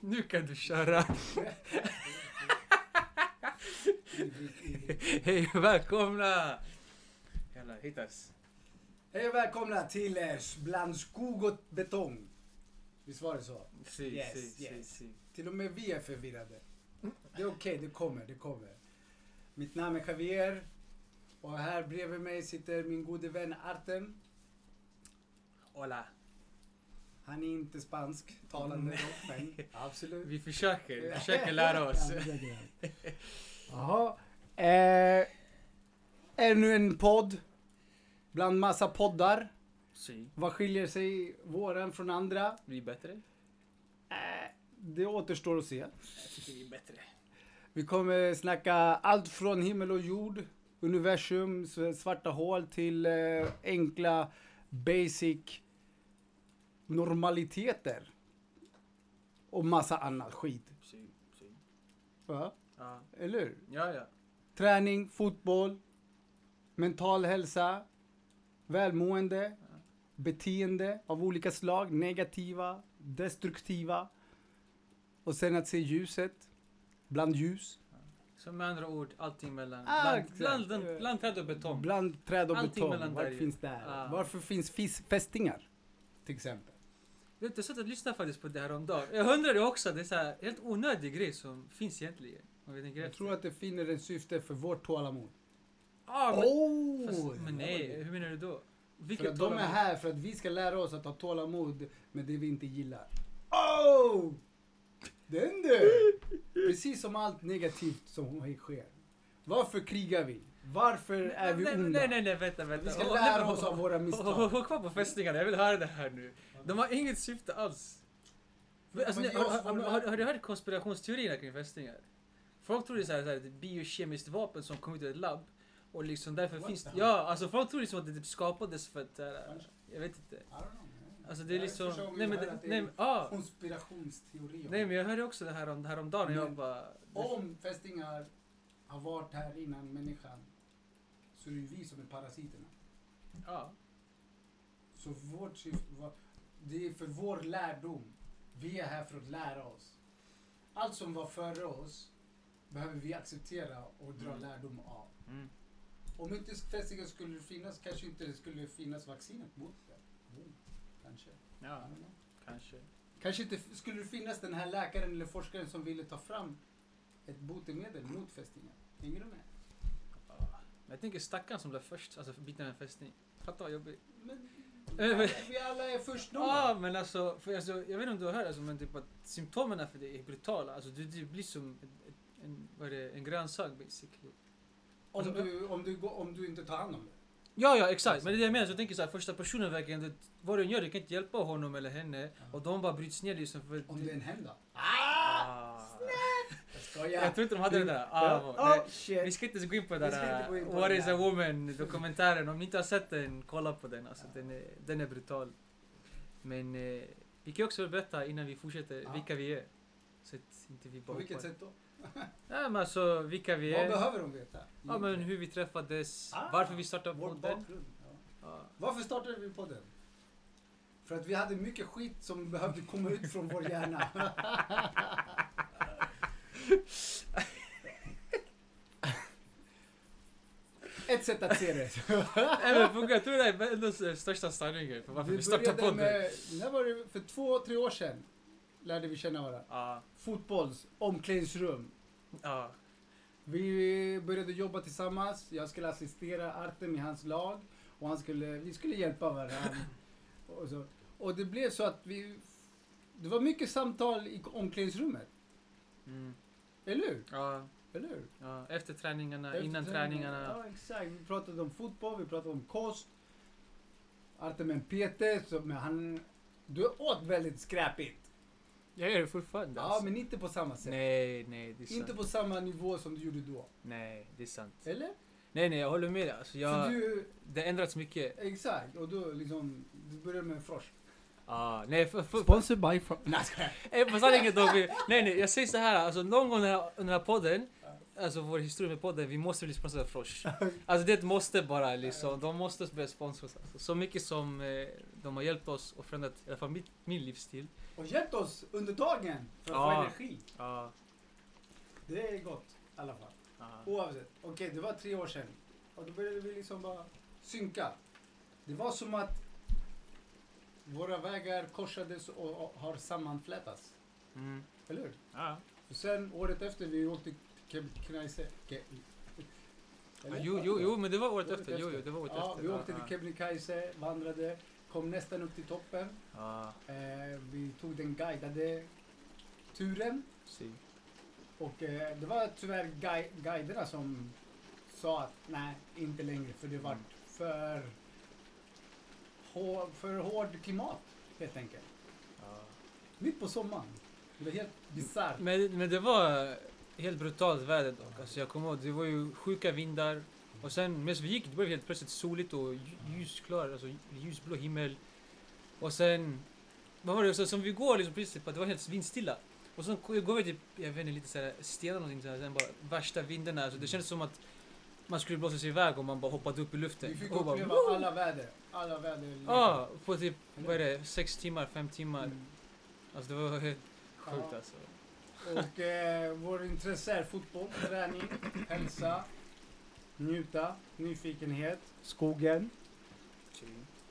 nu kan du köra. Hej och välkomna! Jalla, hittas. Hej och välkomna till eh, Bland skog och betong. Visst var det så? Si, Yes, si, yes. si, si. Till och med vi är förvirrade. Det är okej, det kommer, det kommer. Mitt namn är Javier och här bredvid mig sitter min gode vän Artem. Hola. Han är inte spansk talande dock, men absolut. Vi försöker, vi försöker lära oss. Ja, det är det. Jaha. Eh, ännu en podd. Bland massa poddar. Si. Vad skiljer sig våran från andra? Vi är bättre. Det återstår att se. Jag tycker vi är bättre. Vi kommer snacka allt från himmel och jord, universum, s- svarta hål till eh, enkla basic normaliteter. Och massa annat skit. Si, si. Va? Ja, Eller hur? ja. ja. Träning, fotboll, mental hälsa, välmående, beteende av olika slag, negativa, destruktiva. Och sen att se ljuset, bland ljus, Så med andra ord, allting mellan... Ah, Bland, exakt. bland, bland, bland träd och betong. bland träd och Allting betong. mellan Var där ju. finns det här? Ah. Varför finns fisk, fästingar? Till exempel. Vet du, jag satt och lyssnade faktiskt på det här om dagen. Jag undrar det också, det är så här, helt onödig grej som finns egentligen. Om vi tänker Jag efter. tror att det finner en syfte för vårt tålamod. Ah, men, Oh! fast, men nej, hur menar du då? För att de tålamod? är här för att vi ska lära oss att ha tålamod med det vi inte gillar. Oh! Den du! Precis som allt negativt som sker. Varför krigar vi? Varför är vi nej, onda? nej, nej, nej, vänta, vänta. Vi ska Håll- lära håll- oss av våra misstag. håll- håll- Håll kvar på fästingarna, jag vill höra det här nu. De har inget syfte alls. Men, alltså, Men ni- ge har, oss har, våra- har, har du hört konspirationsteorierna kring fästingar? Folk tror det är så här, så här, ett biokemiskt vapen som kom ut ur ett labb. Och liksom därför What finns the det... hell? Ja, alltså folk tror liksom att det typ skapades för att... så här, jag vet inte. I don't know. Alltså det är Jag liksom... förstår om Nej vi men... hör Det, att det är nej, men ah, Konspirationsteorier. nej men jag hörde också det här om, häromdagen och jag Men- bara... Om fästingar har varit här innan människan så är det ju vi som är parasiterna. Ja. Så vårt syfte var, det är för vår lärdom. Vi är här för att lära oss. Allt som var före oss behöver vi acceptera och dra Mm. lärdom av. Mm. Om inte fästingen skulle finnas kanske inte det skulle finnas vaccinet mot det. Jo, kanske. I Ja, don't know. kanske. Kanske inte f- skulle det finnas den här läkaren eller forskaren som ville ta fram ett botemedel mot fästingar. Hänger du med? Ja. Men jag tänker stackaren som blev först, alltså biten av en fästing. Fattar vad jobbigt. Men, Eh, men- vi alla är först då. Ja, men alltså, för alltså, jag vet inte om du har hört alltså, men typ att symptomen för det är brutala. Alltså du, du blir som ett- ett- en, vad är det, en grönsak basically. om, alltså, du, om, du, går- om du inte tar hand om det. Ja, ja exakt. Men det är det jag menar. Så jag tänker så här, första personen verkligen, det, vad du än gör, du kan inte hjälpa honom eller henne. Och de bara bryts ner liksom för... Om det är en hen då. ah, Jag skojar. jag tror inte de hade det där. Ah, vad- nej. Oh Vi shit! ska inte ens gå in på Vi den ska inte där gå in uh, på What den is där. a woman dokumentären. Om ni inte har sett den, kolla på den. Alltså, den, är, den är brutal. Men eh, vi kan ju också berätta innan vi fortsätter Ja. vilka vi är. Så att inte vi bara På vilket hoppar. sätt då? Ja, men alltså vilka vi Vad är. behöver de veta? Ja, men hur vi träffades, Ah, varför vi startade Vår podden. bakgrund. Ja. Ja. Varför startade vi podden? För att vi hade mycket skit som behövde komma ut från vår hjärna. Ett sätt att se det. Nej, men på- jag tror det är ändå s- största sanningen för varför vi, startade började podden. med, när var det, för två, tre år sedan lärde vi känna varandra. Ja, Fotbolls omklädningsrum. ja, Vi började jobba tillsammans. Jag skulle assistera Artem i hans lag och han skulle, vi skulle hjälpa varandra. och, så. och det blev så att vi... Det var mycket samtal i omklädningsrummet. mm, Eller hur? ja, Eller hur? ja. Efter träningarna, Efter innan träningarna. Ja, exakt. Vi pratade om fotboll, vi pratade om kost. Artem är en PT, så, men han... Du åt väldigt skräpigt. Jag gör det fortfarande. Ja, alltså. men inte på samma sätt. Nej, nej, det är sant. Inte på samma nivå som du gjorde då. Nej, det är sant. Eller? Nej, nej, jag håller med dig. Alltså, jag, Så du, Det har ändrats mycket. exakt. Och då liksom, du började med en frosch. Ah, nej, för, för, för, Sponsored by Fro- Nej, jag skojar. eh, på sanningen då. Vi, nej, nej, jag säger så här. Alltså, någon gång under den här podden, alltså vår historia med podden, vi måste bli sponsrade av Frosh. Alltså det är ett måste bara liksom. De måste börja sponsra oss. Alltså. Så mycket som eh, de har hjälpt oss och förändrat i alla fall mitt, min livsstil. Och hjälpt oss under dagen för att Ja. få energi. Ja, Det är gott i alla fall. ja. Oavsett. Okej, det var tre år sedan. Och då började vi liksom bara synka. Det var som att våra vägar korsades och och har sammanflätats. Mm. Eller hur? ja. Och sen året efter vi åkte till Kebnekaise. Ke- ja jo, jo, jo, men det var året Året efter. Jo, jo, det var året Ja, efter. Ah, vi åkte ja. till Kebnekaise, vandrade, kom nästan upp till toppen. Ja, Eh, vi tog den guidade turen precis. och eh, det var tyvärr gui- guiderna som sa att nej, inte längre för det var Mm. för, hår, för hård klimat helt enkelt. Ja. Mitt på sommaren. Det var helt bisarrt. Men, men det var helt brutalt väder dock. Alltså jag kommer ihåg, det var ju sjuka vindar. Och sen medan vi gick, det blev helt plötsligt soligt och lj- ljusklar, alltså ljusblå himmel. Och sen, vad var det, så som vi går liksom precis, typ, att det var helt vindstilla. Och sen k- går vi typ, jag vet inte, lite såhär stenar någonting såhär, sen bara värsta vindarna. Alltså det kändes som att man skulle blåsa sig iväg om man bara hoppade upp i luften. Vi fick Och bara, uppleva "Woo!" alla väder. Alla väder. Ja, på typ, vad är det, sex timmar, fem timmar. Mm. Alltså det var helt sjukt Ja. alltså. Och eh, vår intresse är fotboll, träning, hälsa, njuta, nyfikenhet, skogen.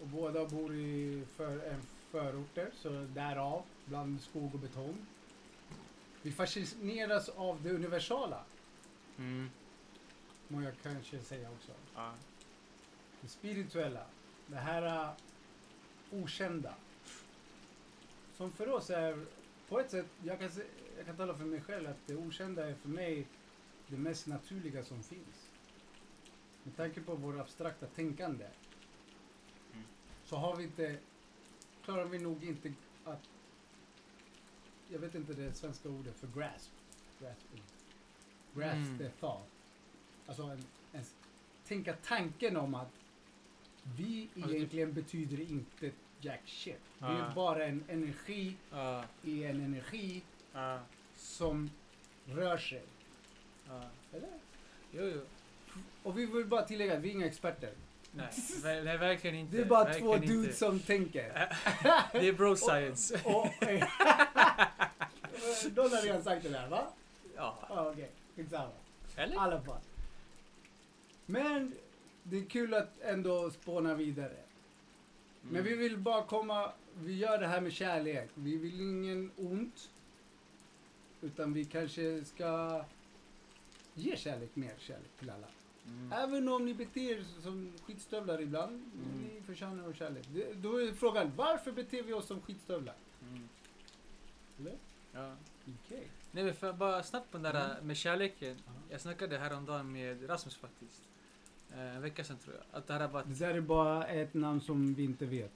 Och båda bor i för, en förorter, så därav bland skog och betong. Vi fascineras av det universala, Mm. må jag kanske säga också. Ja. Det spirituella, det här eh, okända. Som för oss är, på ett sätt, jag kan, se- jag kan tala för mig själv att det okända är för mig det mest naturliga som finns. Med tanke på vårt abstrakta tänkande Mm. så har vi inte, klarar vi nog inte att, jag vet inte det svenska ordet för grasp. Grasp, grasp Mm. the thought. Alltså en, en, tänka tanken om att vi Alltså typ- egentligen betyder inte jack shit. Vi Ah. är bara en energi Ja. i en energi Ja. som rör sig. Ja. Eller? Jo, jo. Och vi vill bara tillägga att vi är inga experter. Nej, ver- nej verkligen inte. Det är bara verkligen två inte. dudes som tänker. Det är bro science. Och, eh, Någon har redan sagt det där va? Ja. Ja, Okej, skitsamma. I Eller? alla fall. Men det är kul att ändå spåna vidare. Mm. Mm. Men vi vill bara komma, vi gör det här med kärlek. Vi vill ingen ont. Utan vi kanske ska ge kärlek, mer kärlek till alla. Mm. Även om ni beter er som skitstövlar ibland, Mm. ni förtjänar vår kärlek. Det- Då är frågan, varför beter vi oss som skitstövlar? Mm. Eller? Ja. Okej. Nej men för att bara snabbt på den där Mm. med kärleken. Ja. Jag snackade häromdagen med Rasmus faktiskt. Eh, En vecka sedan tror jag. Att det här har varit... Det där är bara ett namn som vi inte vet.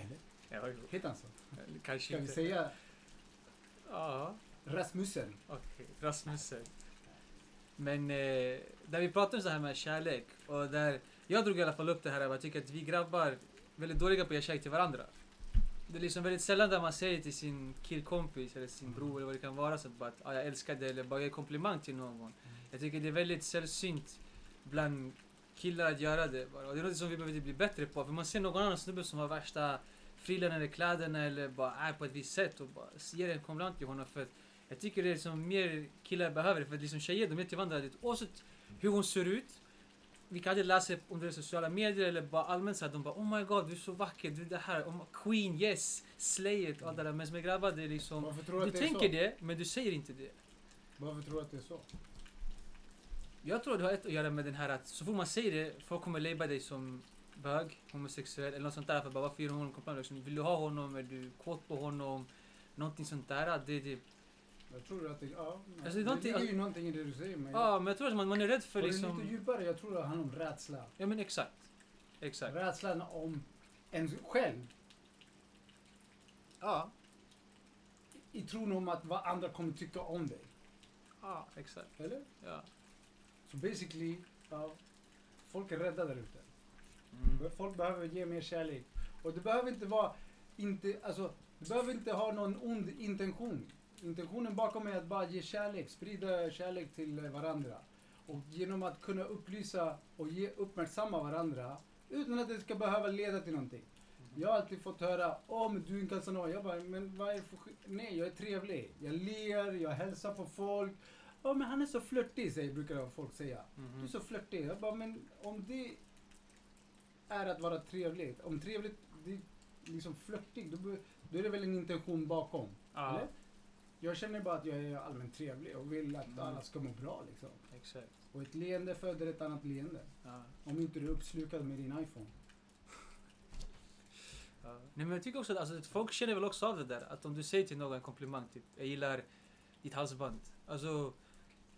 Eller? Ja, jo. Heter han så? Eller Kanske Ska vi inte. säga Ja. Rasmussen? Okej, Rasmussen. Men eh, där vi pratade om så här med kärlek och där jag drog i alla fall upp det här att jag tycker att vi grabbar är väldigt dåliga på att ge kärlek till varandra. Det är liksom väldigt sällan där man säger till sin killkompis eller sin bror eller vad det kan vara så att bara att ah, jag älskar dig eller bara ge komplimang till någon. Jag tycker det är väldigt sällsynt bland killar att göra det bara. Och det är något som vi behöver bli bättre på för man ser någon annan snubbe som har värsta frillan eller kläderna eller bara är på ett visst sätt och bara ger en komplimang till honom för att jag tycker det är som mer killar behöver för att liksom tjejer de är till varandra lite oavsett hur hon ser ut. Vi kan aldrig läsa om det är sociala medier eller bara allmänt så att de bara oh my god du är så vacker, du är det här, om queen, yes, slay it och allt det där. Men med grabbar det är liksom, Varför tror du du att det är tänker så? det men du säger inte det. Varför tror du att det är så? Jag tror det har ett att göra med den här att så fort man säger det, folk kommer labba dig som bög, homosexuell eller något sånt där. För bara, varför ger du honom komplimang? Liksom, vill du ha honom? Är du kåt på honom? Någonting sånt där. Det, det. Jag tror att det, ja, Alltså, det är det någonting- ligger ju någonting i det du säger Mm. men Ja, men jag tror att man, man är rädd för och det är liksom... lite djupare, jag tror det handlar om rädsla. Ja men exakt. Mm. Exakt. Rädslan om en själv Ja. i tron om att vad andra kommer tycka om dig. Ja, exakt. Eller? Ja. Så basically, ja, folk är rädda där ute. Mm. Folk behöver ge mer kärlek. Och det behöver inte vara, inte, alltså, du behöver inte ha någon ond intention. Intentionen bakom är att bara ge kärlek, sprida kärlek till eh, varandra. Och genom att kunna upplysa och ge, uppmärksamma varandra utan att det ska behöva leda till någonting. Jag har alltid fått höra åh men du är en Casanova. Jag bara, men vad är det för sk-" Nej, jag är trevlig. Jag ler, jag hälsar på folk. Ja, men han är så flörtig, säger, brukar folk säga. Du är Mhm. så flörtig. Jag bara, men om det är att vara trevligt. Om trevligt, det är liksom flörtig, då, be- då är det väl en intention bakom. Ja, Eller? Jag känner bara att jag är allmänt trevlig och vill att alla ska må bra liksom. exakt. Och ett leende föder ett annat leende. Ja. Om inte du är uppslukad med din iPhone. Ja. Nej men jag tycker också att alltså, att folk känner väl också av det där. Att om du säger till någon en komplimang, typ jag gillar ditt halsband. Alltså,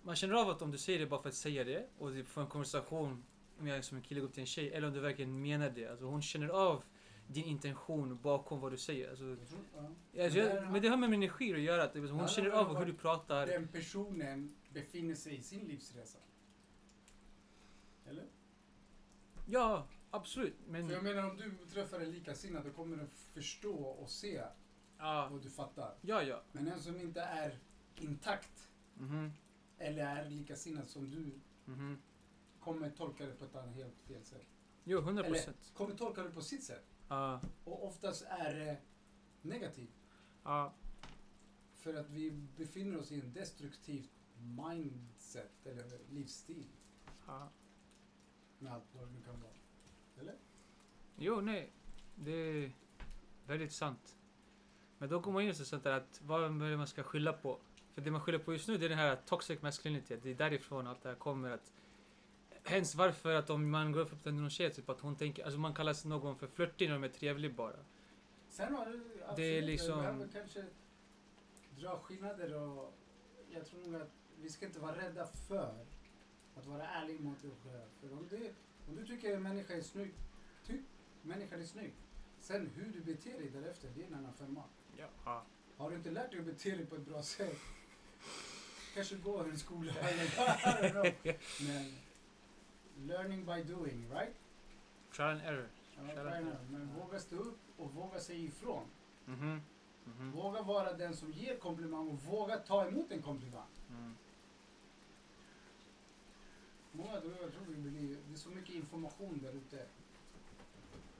man känner av att om du säger det bara för att säga det och du får en konversation, om jag som en kille går upp till en tjej, eller om du verkligen menar det. Alltså hon känner av din intention bakom vad du säger. Alltså, Ja. alltså, där jag, har- men det har med min energi att göra. att det- Hon Ja, känner men av vad- hur du pratar. Den personen befinner sig i sin livsresa. Eller? Ja, absolut. Men För jag menar om du träffar en likasinnad då kommer den förstå och se ja, och du fattar. ja, ja. Men en som inte är intakt Mhm, eller är likasinnad som du mhm. kommer tolka det på ett annat helt fel sätt. Jo, hundra Eller- procent. Kommer tolka det på sitt sätt. Ja, Och oftast är det negativt. ja, För att vi befinner oss i en destruktiv mindset eller livsstil ja. med allt vad det nu kan vara. Jo, nej. Det är väldigt sant. Men då kommer man in på sånt där att vad är det man ska skylla på? För det man skyller på just nu det är den här toxic masculinity. att Det är därifrån allt det här kommer. Att, hens varför att om man går upp till någon tjej, typ att hon tänker... Alltså man kallas någon för flörtig när de är trevlig bara. Sen har du absolut, Det är liksom- vi behöver kanske dra skillnader och jag tror nog att vi ska inte vara rädda för att vara ärlig mot dig själv. För om du, om du tycker en människa är snygg, tyck människan är snygg. Sen hur du beter dig därefter, det är en annan femma. Ja. Har du inte lärt dig att bete dig på ett bra sätt, kanske gå en skola eller I don't know. Men learning by doing, right? Trial and error. Ja, Shout out fair to- enough. Men våga stå upp och våga säga ifrån. Mhm. Mhm. Våga vara den som ger komplimang och våga ta emot en komplimang. Mm. Många tror, jag tror vi blir, det är så mycket information där ute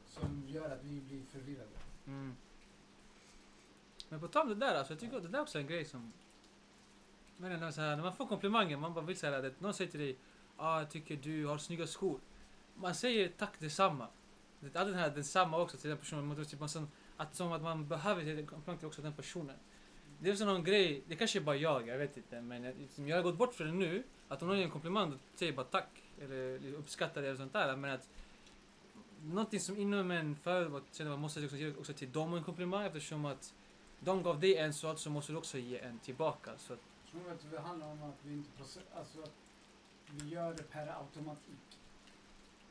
som gör att vi blir förvirrade. Mm. Men på tal om det där, alltså, jag tycker att det där också är en grej som... Men ändå så här, när man får komplimanger, man bara vill säga att någon säger till dig ah, jag tycker du har snygga skor. Man säger tack detsamma. Det är alltid den här detsamma också till den personen. Man tror typ man som, att, som att man behöver ge en komplimang till också den personen. Det är också någon grej, det kanske är bara jag, jag vet inte. Men jag, liksom, jag har gått bort för det nu. Att om någon ger en komplimang, då säger jag bara tack. Eller liksom, uppskattar det eller sånt där. Men att Någonting som inom en förut var- kände man måste också ge också till dem en komplimang eftersom att de gav dig en sak så måste du också ge en tillbaka. Så att, Tror du att det handlar om att vi inte process, alltså att vi gör det per automatik?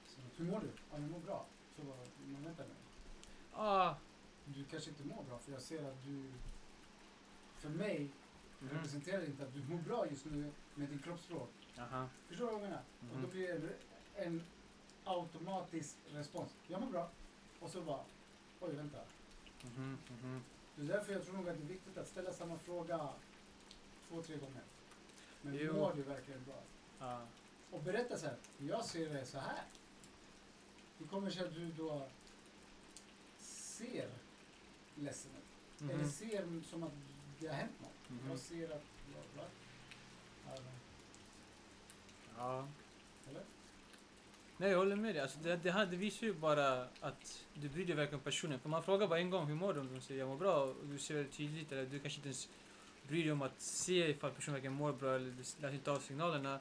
Så, hur mår du? Ja, jag mår bra. Så bara, men vänta nu. ah, Du kanske inte mår bra för jag ser att du, för mig, Mm. representerar inte att du mår bra just nu med din kroppsspråk. aha, Förstår du vad jag menar? Och då Mhm. blir det en automatisk respons. Jag mår bra. Och så bara, oj vänta. mhm, mhm. Det är därför jag tror nog att det är viktigt att ställa samma fråga två, tre gånger. Men Jo. mår du verkligen bra? Ah, Och berätta så här, jag ser det så här. Hur kommer det sig att du då ser ledsen ut? Eller mhm, ser som att det har hänt något? Mhm. Jag ser att, bla, bla. Ja, ja. Eller? Nej, jag håller med dig. Alltså, det, det, här, det visar ju bara att du bryr dig verkligen om personen. För man frågar bara en gång hur mår du? Om de säger jag mår bra och du ser det tydligt eller du kanske inte ens bryr dig om att se ifall personen verkligen mår bra eller du lär inte av signalerna.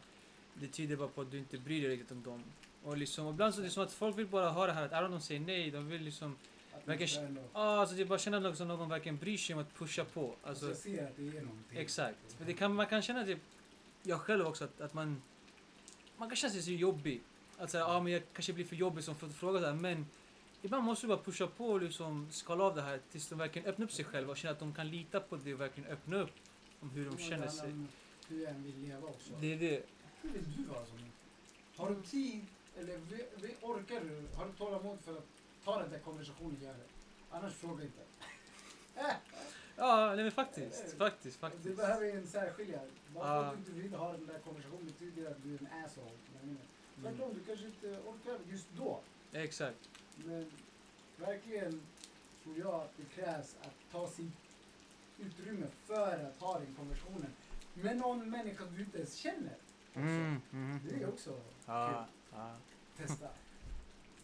Det tyder bara på att du inte bryr dig riktigt om dem. Och liksom, och ibland så är det som att folk vill bara ha det här att även om de säger nej, de vill liksom... Att Verkar- det inte är något. Ah, alltså det är bara känna liksom att någon verkligen bryr sig om att pusha på. Alltså, jag ser att det är Typ. någonting. Exakt. För det kan, man kan känna typ, jag själv också, att, att man, man kan känna sig så jobbig. Att säga, ah, men jag kanske blir för jobbig som får fråga så här, men ibland måste du bara pusha på och liksom skala av det här tills de verkligen öppnar upp sig själva och känner att de kan lita på det och verkligen öppna upp om hur de Det känner handlar sig. om Hur jag än vill leva också. Det är det. Hur vill du vara som människa? Har du tid, eller vi, vi orkar du? Har du tålamod för att ta den där konversationen gör det? Annars fråga inte. Ja, nej men faktiskt, faktiskt, Du faktiskt. behöver en särskilja. Bara för Ah. att du inte vill ha den där konversationen betyder att du är en Mm. asshole. Jag menar. Tvärtom, du kanske inte orkar just då. Exakt. Men verkligen tror jag att det krävs att ta sitt utrymme för att ha den konversationen med någon människa du inte ens känner. också. Mm, mm, Det är mm. också Ja, ja. kul. Testa.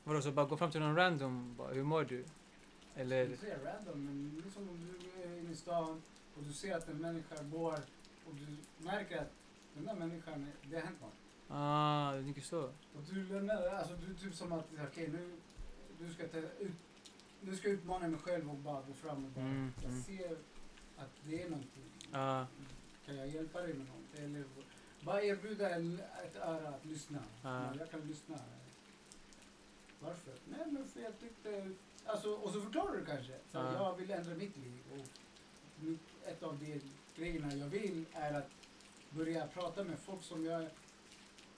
Vadå, så bara gå fram till någon random bara, hur mår du? Det Eller? är så jävla random, men det är som om du är inne i stan och du ser att en människa går och du märker att den där människan, det har hänt något. Ah, du tänker så? Och du lämnar, alltså du är typ som att, okej nu, du ska ta ut, du ska utmana mig själv och bara gå fram och bara, Mm, jag mm. ser att det är någonting. Ja, Kan jag hjälpa dig med något? Eller bara erbjuda en, ett öra att lyssna. Ja. Ja, Jag kan lyssna. Varför? Nej men för jag tyckte, alltså, och så förklarar du kanske. Så att Ja. Jag vill ändra mitt liv och mitt, ett av de grejerna jag vill är att börja prata med folk som jag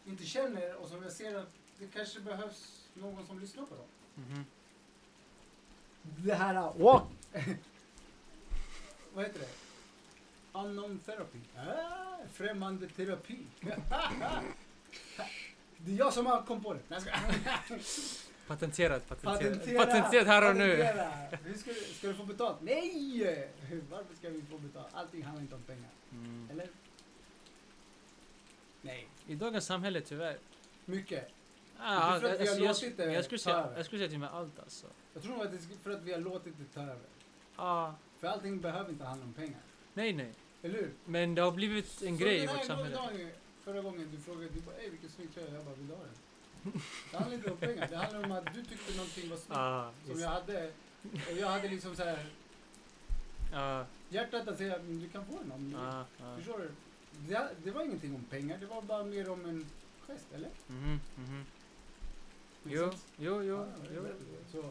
inte känner och som jag ser att det kanske behövs någon som lyssnar på dem. mhm. Det här, walk! Vad heter det? Unknown therapy. Ah, främmande terapi. det är jag som har kom på det. Nej, jag skojar. Patenterat, patenterat. Patentera! Patenterat här och nu. Patentera! Vi ska, ska du få betalt? Nej! Varför ska vi få betalt? Allting handlar inte om pengar. Mm. Eller? Nej. I dagens samhälle tyvärr. Mycket. Ah, Det är för att vi har jag, låtit det jag, skulle ta säga, över. jag skulle säga till och med allt alltså. Jag tror nog att det är för att vi har låtit det ta över. Ah, För allting behöver inte handla om pengar. nej, nej. Eller hur? Men det har blivit en Så grej i den här vårt samhälle. gången Daniel, Förra gången du frågade, du bara, "Ey, vilken snygg tröja, jag bara, vill du ha den? Det handlar inte om pengar, det handlar om att du tyckte någonting var snyggt Ah, som just. jag hade. Och jag hade liksom så här, Ah, hjärtat att säga, "Men du kan få den om du vill. ah, ah. Förstår du? Det, det var ingenting om pengar, det var bara mer om en gest, eller? Mhm, mhm. Makes Jo, sense? jo, Ja, jo, jag jo. vet det. Så,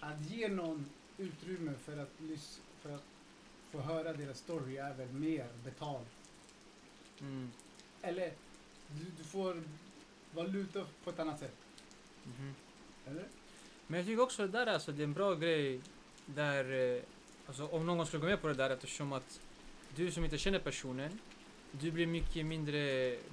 att ge någon utrymme för att, lys- för att få höra deras story är väl mer betalt Mm, Eller du, du får valuta på ett annat sätt. mhm. Eller? Men jag tycker också det där alltså, det är en bra grej där, eh, alltså om någon skulle gå med på det där eftersom att du som inte känner personen, du blir mycket mindre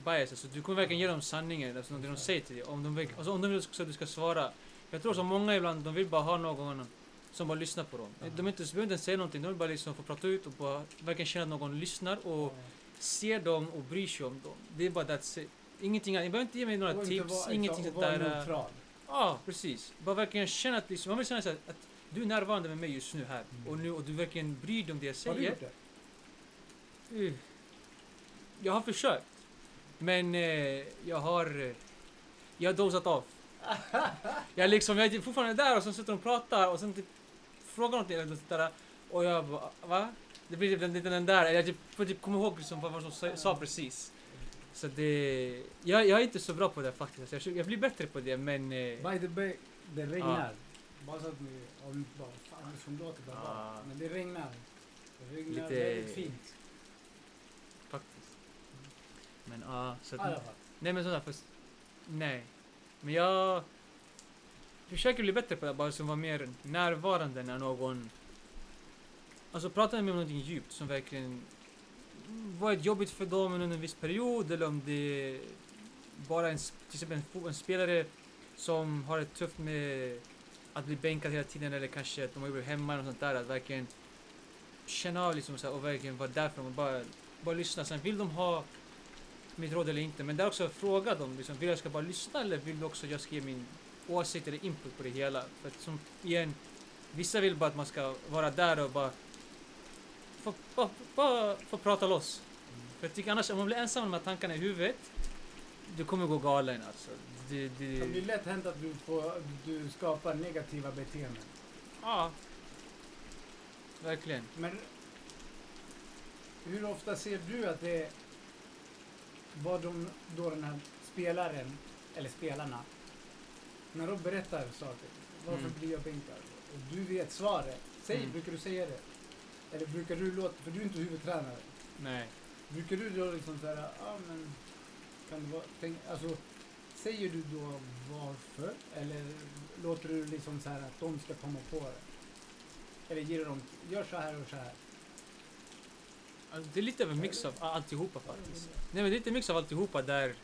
biased. Alltså, du kommer verkligen ge dem sanningen, alltså det de säger till dig. Om de, verk- alltså, om de vill också att du ska svara. Jag tror så många ibland, de vill bara ha någon som bara lyssnar på dem. De, är inte, de behöver inte ens säga någonting, de vill bara liksom få prata ut och bara verkligen känna att någon lyssnar och ser dem och bryr sig om dem. Det är bara that's it. Ingenting annat. Ni behöver inte ge mig några Och inte tips, vara- ingenting sånt exakt, och vara där. eh, neutral. Ja, precis. Bara verkligen känna att liksom, man vill känna så här, att du är närvarande med mig just nu här Mm. och nu och du verkligen bryr dig om det jag Har du säger. gjort det? Uh. Jag har försökt, men eh, jag har eh, jag har dozat av. jag liksom, jag är fortfarande där och sen sitter de och pratar och sen typ frågar någonting eller något sånt där och jag bara va? Det blir typ den, lite den där, jag typ, får typ komma ihåg liksom vad vad som sa, sa precis. Så det, jag, jag är inte så bra på det faktiskt. Alltså, Jag, försöker- jag blir bättre på det men... Eh, By the way, det regnar. Ja. Bara så att ni, om ni bara, fan det är som låter där Ja. Men det regnar. Det regnar Lite- väldigt fint. Faktiskt. Men ja, så I att, Ah, alla fall. Nej men sådär, fast... Nej. Men jag... Försöker bli bättre på det, bara som vara mer närvarande när någon... Alltså prata med mig om någonting djupt som verkligen varit jobbigt för dem under en viss period eller om det bara är en, sp- till exempel en, fo- en spelare som har det tufft med att bli bänkad hela tiden eller kanske att de har blivit hemma och sånt där. Att verkligen känna av liksom så här, och verkligen vara där för dem och bara, bara lyssna. Sen vill de ha mitt råd eller inte. Men där också fråga dem. Liksom, vill jag ska bara lyssna eller vill du också jag ska ge min åsikt eller input på det hela? För att som, igen, vissa vill bara att man ska vara där och bara få, bara, bara få prata loss. För jag tycker annars, om man blir ensam med de här tankarna i huvudet, du kommer gå galen alltså. Det, det, Det blir lätt hänt att du, får, du skapar negativa beteenden. Ja. Verkligen. Men hur ofta ser du att det vad de, då den här spelaren, eller spelarna, när de berättar saker, varför Mm. blir jag bänkad? Och du vet svaret. Säg, Mm. brukar du säga det? Eller brukar du låta, för du är inte huvudtränare. Nej. Brukar du då liksom såhär, ja ah, men, kan det vara, tänk, alltså, säger du då varför? Eller låter du liksom så här att de ska komma på det? Eller ger du dem, gör så här och så här. Alltså, det är lite av en mix av alltihopa faktiskt. Nej men det är lite en mix av alltihopa där.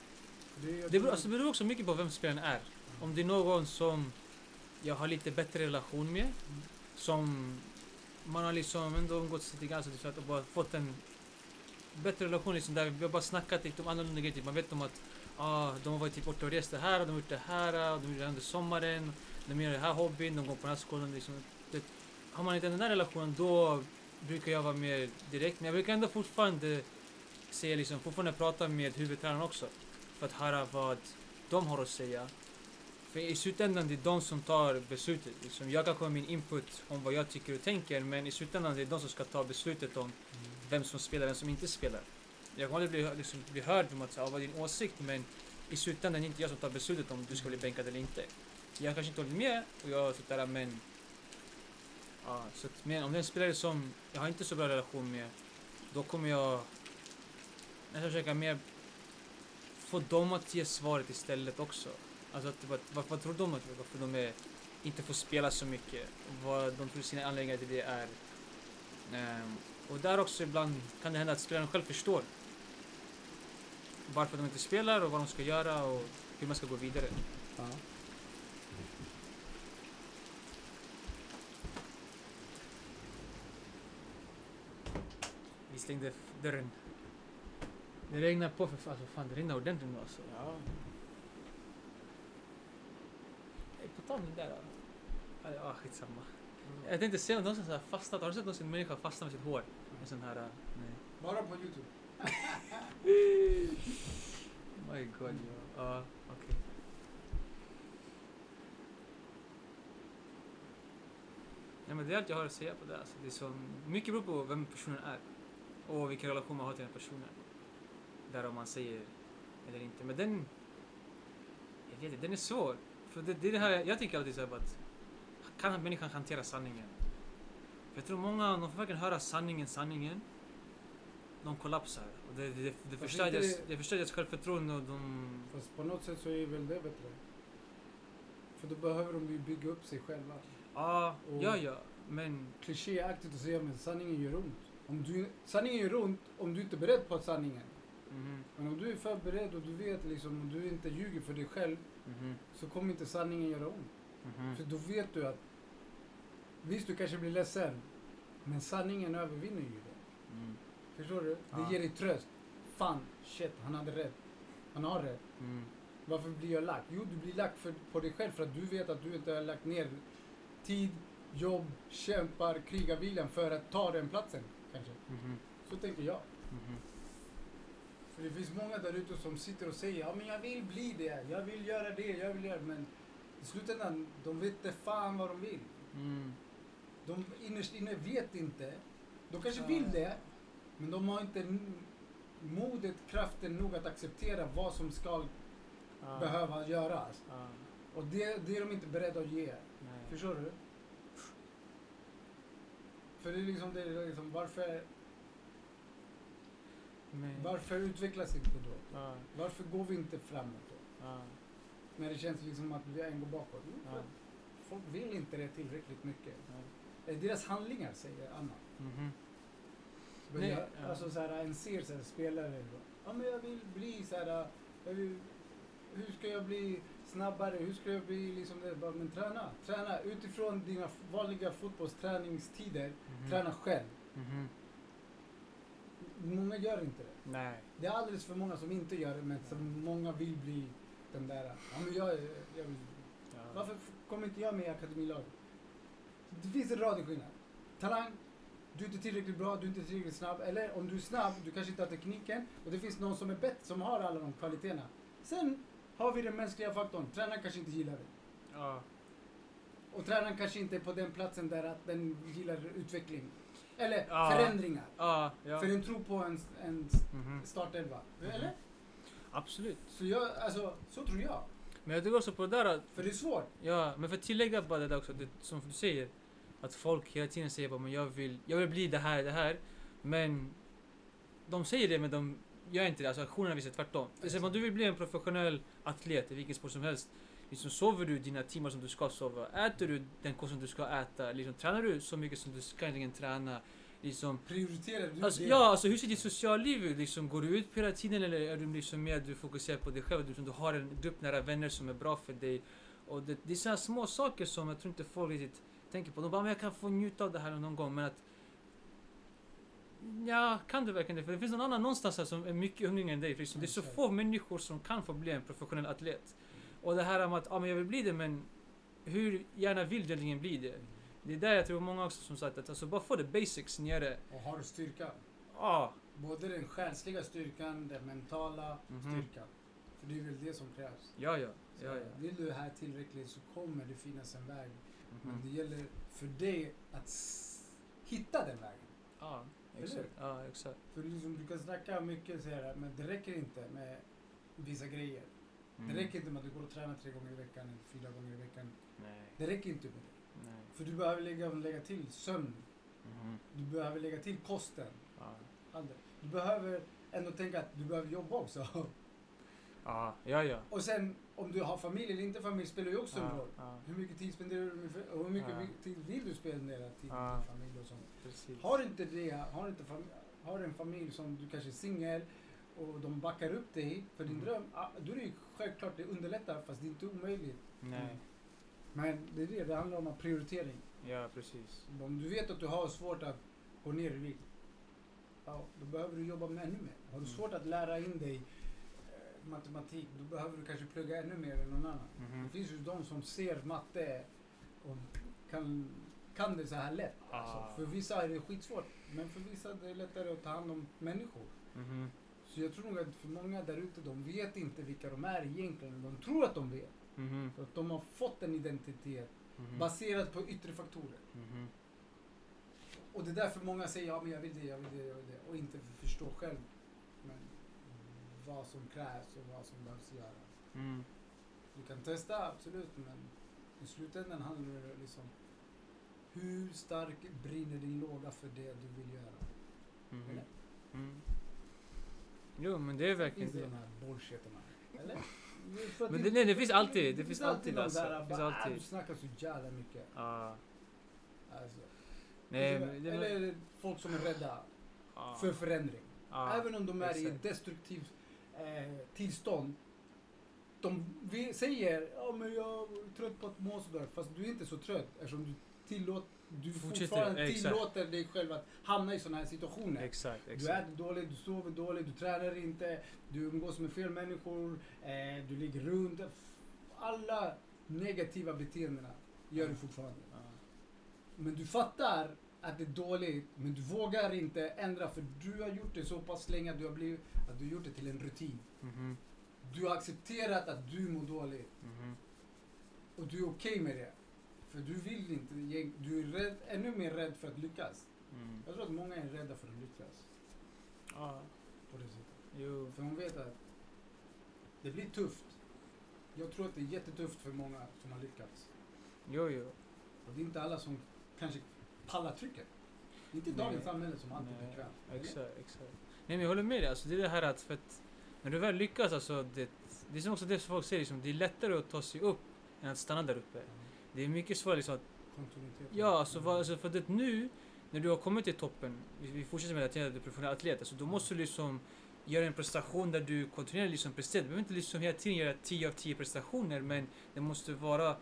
Det, alltså, Det beror, alltså, det beror också mycket på vem spelaren är. Om det är någon som jag har lite bättre relation med. Som man har liksom ändå umgåtts lite grann så typ så att och bara fått en bättre relation liksom där vi har bara snackat lite om annorlunda grejer. Typ. Man vet om att ah, de har varit typ borta och rest det här och de har gjort det här och de gjorde det här under sommaren. De gör den här hobbyn, de går på den här skolan. Liksom. Det, har man inte den där relationen då brukar jag vara mer direkt. Men jag brukar ändå fortfarande säga liksom, fortfarande prata med huvudtränaren också. För att höra vad de har att säga. För i slutändan det är de som tar beslutet. Liksom, jag kan komma med min input om vad jag tycker och tänker men i slutändan det är de som ska ta beslutet om vem som spelar vem som inte spelar. Jag kommer aldrig bli, liksom, bli hörd om att säga ah, vad är din åsikt men i slutändan är det inte jag som tar beslutet om du ska bli bänkad eller inte. Jag kanske inte håller med och jag sitter där men... Ja, så att, men om det är en spelare som jag har inte så bra relation med då kommer jag... Jag ska försöka mer få dem att ge svaret istället också. Alltså att, vad, vad, vad tror de att varför de är, inte får spela så mycket? Vad de tror sina anledningar till det är. Ehm, och där också ibland kan det hända att spelaren själv förstår varför de inte spelar och vad de ska göra och hur man ska gå vidare. Ja. Vi slängde f- dörren. Det regnar på för fan, alltså, fan det regnar ordentligt nu alltså. Ja. Hey, på tal om det där. Ja, ja skitsamma. Jag tänkte se om någon som så här fastnat. Har du sett någonsin en människa fastna med sitt hår? En sån här... uh, Nej. Bara på Youtube. My god. uh, Ja, ja, okej. Nej men det är allt jag har att säga på det. Alltså, det är så, mycket beror på vem personen är. Och vilken relation man har till den personen. Där om man säger eller inte. Men den... Jag vet inte, den är svår. För det, det är det här, jag tycker alltid så här att... Kan människan hantera sanningen? För jag tror många, de får verkligen höra sanningen, sanningen. De kollapsar. Och det, det, det, det, Fast förstör, inte deras, det- det förstör deras självförtroende och de... Fast på något sätt så är väl det bättre. För då behöver de ju bygga upp sig själva. Ja, Och- ja, ja. Men Klichéaktigt att säga men sanningen gör ont. Om du, sanningen gör ont om du inte är beredd på sanningen. mhm, Men om du är förberedd och du vet liksom, om du inte ljuger för dig själv mhm, så kommer inte sanningen göra ont. mhm. För då vet du att, visst du kanske blir ledsen, men sanningen övervinner ju det. Mm, Förstår du? Ja. Det ger dig tröst. Fan, shit, han hade rätt. Han har rätt. mm, Varför blir jag lack? Jo, du blir lack för, på dig själv för att du vet att du inte har lagt ner tid, jobb, kämpar, krigar viljan för att ta den platsen. Kanske. mhm, Så tänker jag. mhm. För det finns många där ute som sitter och säger ja men jag vill bli det, jag vill göra det, jag vill göra det. Men i slutändan, de vet inte fan vad de vill. Mm, De innerst inne vet inte. De kanske Ja. vill det, men de har inte n- modet, kraften nog att acceptera vad som ska ja, behöva göras. ja, Och det, det är de inte beredda att ge. nej. Förstår du? För det är liksom, det är liksom varför, Men- varför utvecklas inte då? ja, Varför går vi inte framåt då? ja, När det känns liksom att vi än går bakåt. Jo, för ja, att Folk vill inte det tillräckligt mycket. ja. Eh, Deras handlingar säger annat. Mhm, Men Nej, jag, ja. Alltså så här, en ser så här, spelare då. Ja men jag vill bli så här. eh, Jag vill, hur ska jag bli snabbare? Hur ska jag bli liksom det? Bara, men träna, träna utifrån dina f- vanliga fotbollsträningstider. mhm, Träna själv. mhm. Många gör inte det. Nej. Det är alldeles för många som inte gör det men som många vill bli den där. eh, Ja men jag, är- jag vill. Ja. Varför f- kommer inte jag med i akademilaget? Det finns en rad skillnad. Talang, du är inte tillräckligt bra, du är inte tillräckligt snabb. Eller om du är snabb, du kanske inte har tekniken. Och det finns någon som är bättre, som har alla de kvaliteterna. Sen har vi den mänskliga faktorn. Tränaren kanske inte gillar det. Ja. Och tränaren kanske inte är på den platsen där att den gillar utveckling. Eller Ja. förändringar. Ja, ja. För den tror på en, en Mhm. startelva. Eller? Absolut. Så jag, alltså, så tror jag. Men jag tycker också på det där att För det är svårt. Ja, men för att tillägga bara det där också, det, som du säger. Att folk hela tiden säger bara men jag vill, jag vill bli det här, det här. Men de säger det men de gör inte det. Alltså aktionerna visar tvärtom. Till exempel om du vill bli en professionell atlet i vilken sport som helst. Liksom sover du dina timmar som du ska sova? Äter du den kost som du ska äta? Liksom, tränar du så mycket som du ska egentligen träna? Liksom, Prioriterar du Alltså, det? ja, alltså hur ser ditt socialliv ut? Liksom, går du ut på hela liksom, tiden eller är du liksom mer du fokuserar på dig själv? Du, du har en grupp nära vänner som är bra för dig Och det, det är sådana små saker som jag tror inte folk riktigt tänker på. De bara, men jag kan få njuta av det här någon gång. Men att... Ja, kan du verkligen det? För det finns någon annan någonstans här som är mycket yngre än dig. Liksom. Det är så Exakt. få människor som kan få bli en professionell atlet. Och det här med att, ja men jag vill bli det, men hur gärna vill du egentligen bli det? Det är där jag tror många också som sagt att alltså bara få the basics nere. Och har du styrka? Ja, Både den själsliga styrkan, den mentala Mhm. styrkan. För det är väl det som krävs. ja, ja. Så ja, ja. Vill du det här tillräckligt så kommer det finnas en väg. Men Mhm. det gäller för dig att s- hitta den vägen. Ja, Eller exakt. Ja, exakt. För liksom, du kan snacka mycket och säga det, här, men det räcker inte med vissa grejer. Mm. Det räcker inte med att du går och tränar tre gånger i veckan eller fyra gånger i veckan. Nej, Det räcker inte med det. nej. För du behöver lägga, lägga till sömn. Mhm. Du behöver lägga till kosten. Ja. Allt det. Du behöver ändå tänka att du behöver jobba också. Ja, ja, ja. Och sen om du har familj eller inte familj spelar ju också en Ja, roll. ja, Hur mycket tid spenderar du med och hur mycket Ja. vi- tid vill du spendera tid Ja. med familj och sånt? precis. Har du inte det, har du inte fam- har du en familj som du kanske är singel och de backar upp dig för din Mm. dröm, ah, då är det ju självklart det underlättar fast det är inte omöjligt. Nej, Men det är det, det handlar om att prioritering. ja precis. Om du vet att du har svårt att gå ner i vikt, ja, då behöver du jobba med ännu mer. Har du Mm. svårt att lära in dig eh, matematik, då behöver du kanske plugga ännu mer än någon annan. Mhm. Det finns ju de som ser matte och kan, kan det så här lätt. Ah. Alltså, för vissa är det skitsvårt, men för vissa är det lättare att ta hand om människor. Mhm. Så jag tror nog att för många där ute, de vet inte vilka de är egentligen. De tror att de vet. Mhm. För att de har fått en identitet Mhm. baserat på yttre faktorer. Mhm. Och det är därför många säger ja men jag vill det, jag vill det, jag vill det. Och inte förstår själv men vad som krävs och vad som behövs göras. Mm. Du kan testa, absolut, men i slutändan handlar det liksom hur stark brinner din låga för det du vill göra? Mhm. Eller? Mm. Jo, men det är verkligen Finns det det. de här bullsheterna? Eller? Det är för att Men det, nej, det finns alltid. Det finns alltid någon alltså. Det där, finns bara, "Ah, Du alltid. snackar så jävla mycket. Ja. Alltså. Nej, men eller, det var... eller folk som är rädda Ja. för förändring. Ja. Även om de är i Ah, exakt. ett destruktivt eh, tillstånd. De vi- säger ja men jag är trött på att må sådär. Fast du är inte så trött eftersom du, tillåt, du Fortsätter, fortfarande exakt. tillåter dig själv att hamna i sådana här situationer. Exakt, Du exakt. äter dåligt, du sover dåligt, du tränar inte, du umgås med fel människor, eh, du ligger runt. Alla negativa beteendena gör du fortfarande. Ja. Men du fattar att det är dåligt, men du vågar inte ändra för du har gjort det så pass länge att du har, blivit, att du har gjort det till en rutin. Mhm. Du har accepterat att du mår dåligt Mhm. och du är okej med det. För du vill inte, egent- du är rädd, ännu mer rädd för att lyckas. Mm. Jag tror att många är rädda för att lyckas Ja. på det sättet. Jo. För de vet att det blir tufft. Jag tror att det är jättetufft för många som har lyckats. Jo, jo. Och det är inte alla som kanske pallar trycket. Det är inte Nej. dagens samhälle som alltid är Nej, bekvämt. eller? Mm. Exakt, exakt. Nej men jag håller med dig. Alltså, det är det här att, för att när du väl lyckas, alltså, det, det är som också det som folk säger, liksom, det är lättare att ta sig upp än att stanna där uppe. Det är mycket svårare liksom, att, Kontinuitet. ja alltså, vad, alltså för det nu, när du har kommit till toppen, vi, vi fortsätter med att du är professionell atlet, alltså, då måste du liksom göra en prestation där du kontinuerligt liksom presterar. Du behöver inte liksom hela tiden göra 10 av 10 prestationer, men det måste vara,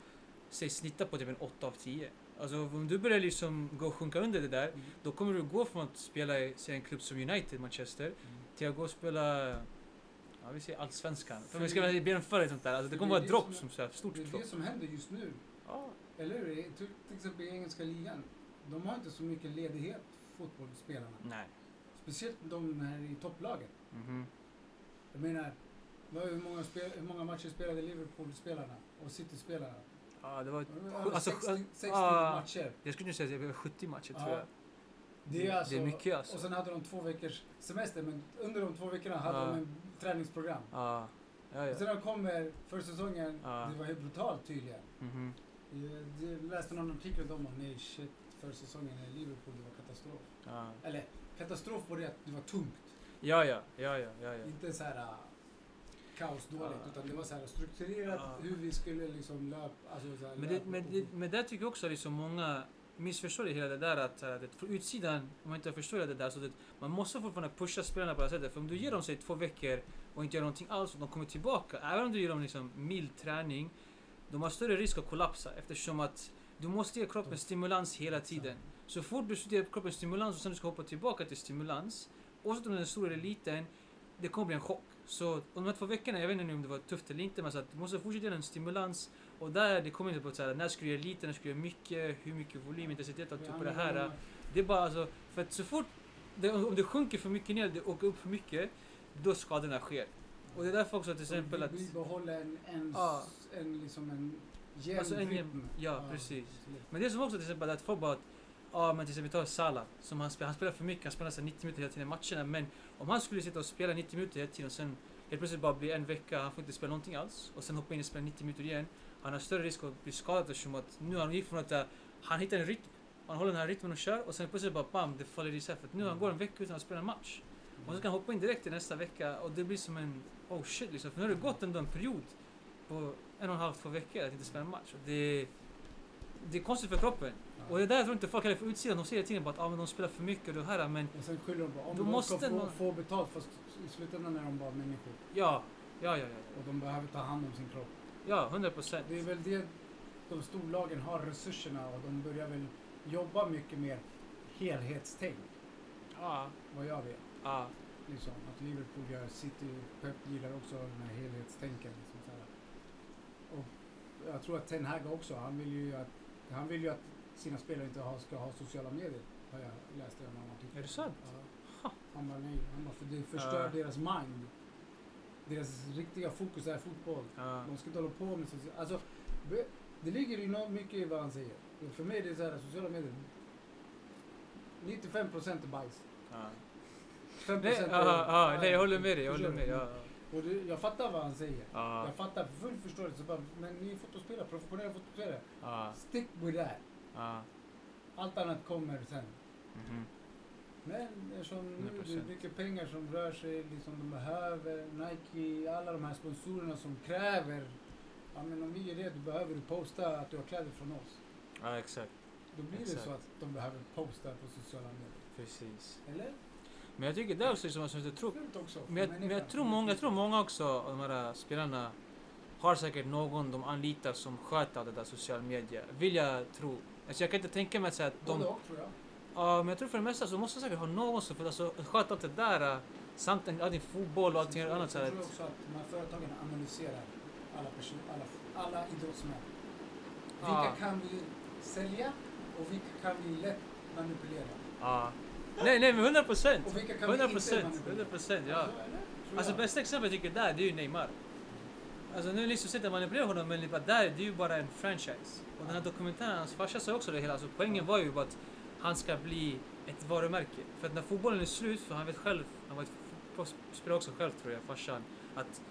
säg snitta på typ en 8 av 10. Alltså om du börjar liksom gå och sjunka under det där, Mm. då kommer du gå från att spela i säg, en klubb som United, Manchester, till att gå och spela ja, vi säger Allsvenskan. För vi ska väl bli en förra sånt där. Alltså, det För kommer det är vara dropp det som är- som så här, stort Det är dropp. det som händer just nu. Ja, Eller hur? I- Till till exempel i engelska ligan. De har inte så mycket ledighet, fotbollsspelarna. Ah, nej. Speciellt de här i topplagen. Mhm. Jag menar, vad- hur många, spel, hur många matcher spelade Liverpool-spelarna och City-spelarna? Ja, det var... Över Alltså, 60, 60 ah. matcher. Jag skulle nu säga att det var 70 matcher tror Ja. jag. Det är, alltså, det är mycket alltså. Och sen hade de två veckors semester, men under de två veckorna hade Ja. de en träningsprogram. Ja. Ja, Och Ah. ja. Ah. sen när de kommer för säsongen, Ja. det var helt brutalt tydligen. Mhm. Jag Eh, jag läste någon artikel om dem och nej shit, för säsongen i Liverpool det var katastrof. Ja. Eller katastrof var det att det var tungt. Ja, ja, ja, ja, ja, ja. Inte så här äh, kaosdåligt Ja. utan det var så här strukturerat Ja. hur vi skulle liksom löpa. Alltså så här, Men, löpa det, men, och- det, men där tycker jag också liksom många missförstår det hela det där att, så här, att det, från utsidan, om man inte förstår det där, så det, man måste fortfarande pusha spelarna på det här sättet. För om du ger dem sig två veckor och inte gör någonting alls och de kommer tillbaka, även om du ger dem liksom mild träning, de har större risk att kollapsa eftersom att du måste ge kroppen stimulans hela tiden. Så fort du ger kroppen stimulans och sen du ska hoppa tillbaka till stimulans, oavsett om den är stor eller liten, det kommer bli en chock. Så om de här två veckorna, jag vet inte nu om det var tufft eller inte, men så att du måste fortsätta ge den stimulans och där, det kommer inte på att säga när ska du göra lite, när ska du göra mycket, hur mycket volym, intensitet, allt typ på det här. Det är bara alltså, för att så fort det, om det sjunker för mycket ner, det åker upp för mycket, då skadorna sker. Och det är därför också till exempel att... Vi behåller en, en, Ja. en, liksom en jämn Alltså en jämn- rytm. ja, precis. absolut. Men det som också till exempel att folk bara att Ja men till exempel vi tar Salah som han spelar, han spelar för mycket, han spelar så här 90 minuter hela tiden i matcherna men om han skulle sitta och spela 90 minuter hela tiden och sen helt plötsligt bara bli en vecka, han får inte spela någonting alls och sen hoppa in och spela 90 minuter igen. Han har större risk att bli skadad eftersom att nu har han gick från att äh, han hittar en rytm, han håller den här rytmen och kör och sen plötsligt bara bam det faller isär för att nu han går en vecka utan att spela en match. Och så kan han hoppa in direkt i nästa vecka och det blir som en oh shit liksom för nu har det gått ändå en period på en och en halv, två veckor att inte spela en match. Och det, det är konstigt för kroppen. Och det är där jag tror inte folk heller får utsidan. De ser hela tiden bara att ah, men de spelar för mycket och det här men Och sen skyller de på om Då de måste ska få, någon- få betalt fast i slutändan är de bara människor ja, ja, ja, ja, och de behöver ta hand om sin kropp. ja, 100 procent. Det är väl det de storlagen har resurserna och de börjar väl jobba mycket mer helhetstänk Ja, vad jag vet. ja, Liksom, att Liverpool gör, City, Pep gillar också den här helhetstänken. Liksom, så här. Och jag tror att Ten Hag också, han vill ju att, han vill ju att sina spelare inte ha, ska ha sociala medier. Har jag läst i en annan artikel. Är det sant? Ja. Han bara nej, han bara, för det förstör Ja. deras mind. Deras riktiga fokus är fotboll. ja, De ska inte hålla på med sociala... Alltså, be- det ligger ju nå- mycket i vad han säger. För mig är det så här, sociala medier... 95 procent är bajs. ja. 5 Nej, ja, ja, nej, jag håller med dig, jag håller med. Ja, Och det, jag fattar vad han säger. ja, Jag fattar full förståelse. Bara, men ni är fotbollsspelare, professionella fotbollsspelare. ja, Stick with that. ja. Allt annat kommer sen. Mhm. Men eftersom nu det är 100%. mycket pengar som rör sig, liksom de behöver Nike, alla de här sponsorerna som kräver. Ja, men om vi ger det, då behöver du posta att du har kläder från oss. Ja, exakt. Då blir det Exakt. så att de behöver posta på sociala medier. Precis. Eller? Men jag tycker det är också liksom, som jag tror Fult också. för Men jag, men jag människan. tror många, jag tror många också av de här äh, spelarna har säkert någon de anlitar som sköter allt det där sociala medier. Vill jag tro. Alltså jag kan inte tänka mig att säga att de... Både och tror jag. Ja, men jag tror för det mesta så måste jag säkert ha någon som för alltså, sköta allt det där. eh, Samt en- all din fotboll och allting Sen annat. Så tror här, jag tror att- också att de här företagen analyserar alla, person, alla, alla idrottsmän. Vilka Ja. kan vi sälja och vilka kan vi lätt manipulera? ja. Nej, nej, men 100 procent! Och vilka kan 100 vi inte procent! manipulera? 100 procent, ja. Så är det, tror Alltså jag. bästa exemplet jag tycker där, det är ju Neymar. Alltså nu liksom sitter man och manipulerar honom, men bara där, det är ju bara en franchise. Och den här dokumentären, hans farsa sa också det hela, alltså poängen var ju bara att han ska bli ett varumärke. För att när fotbollen är slut, för han vet själv, han var ett fotbollsspelare också själv tror jag, farsan, att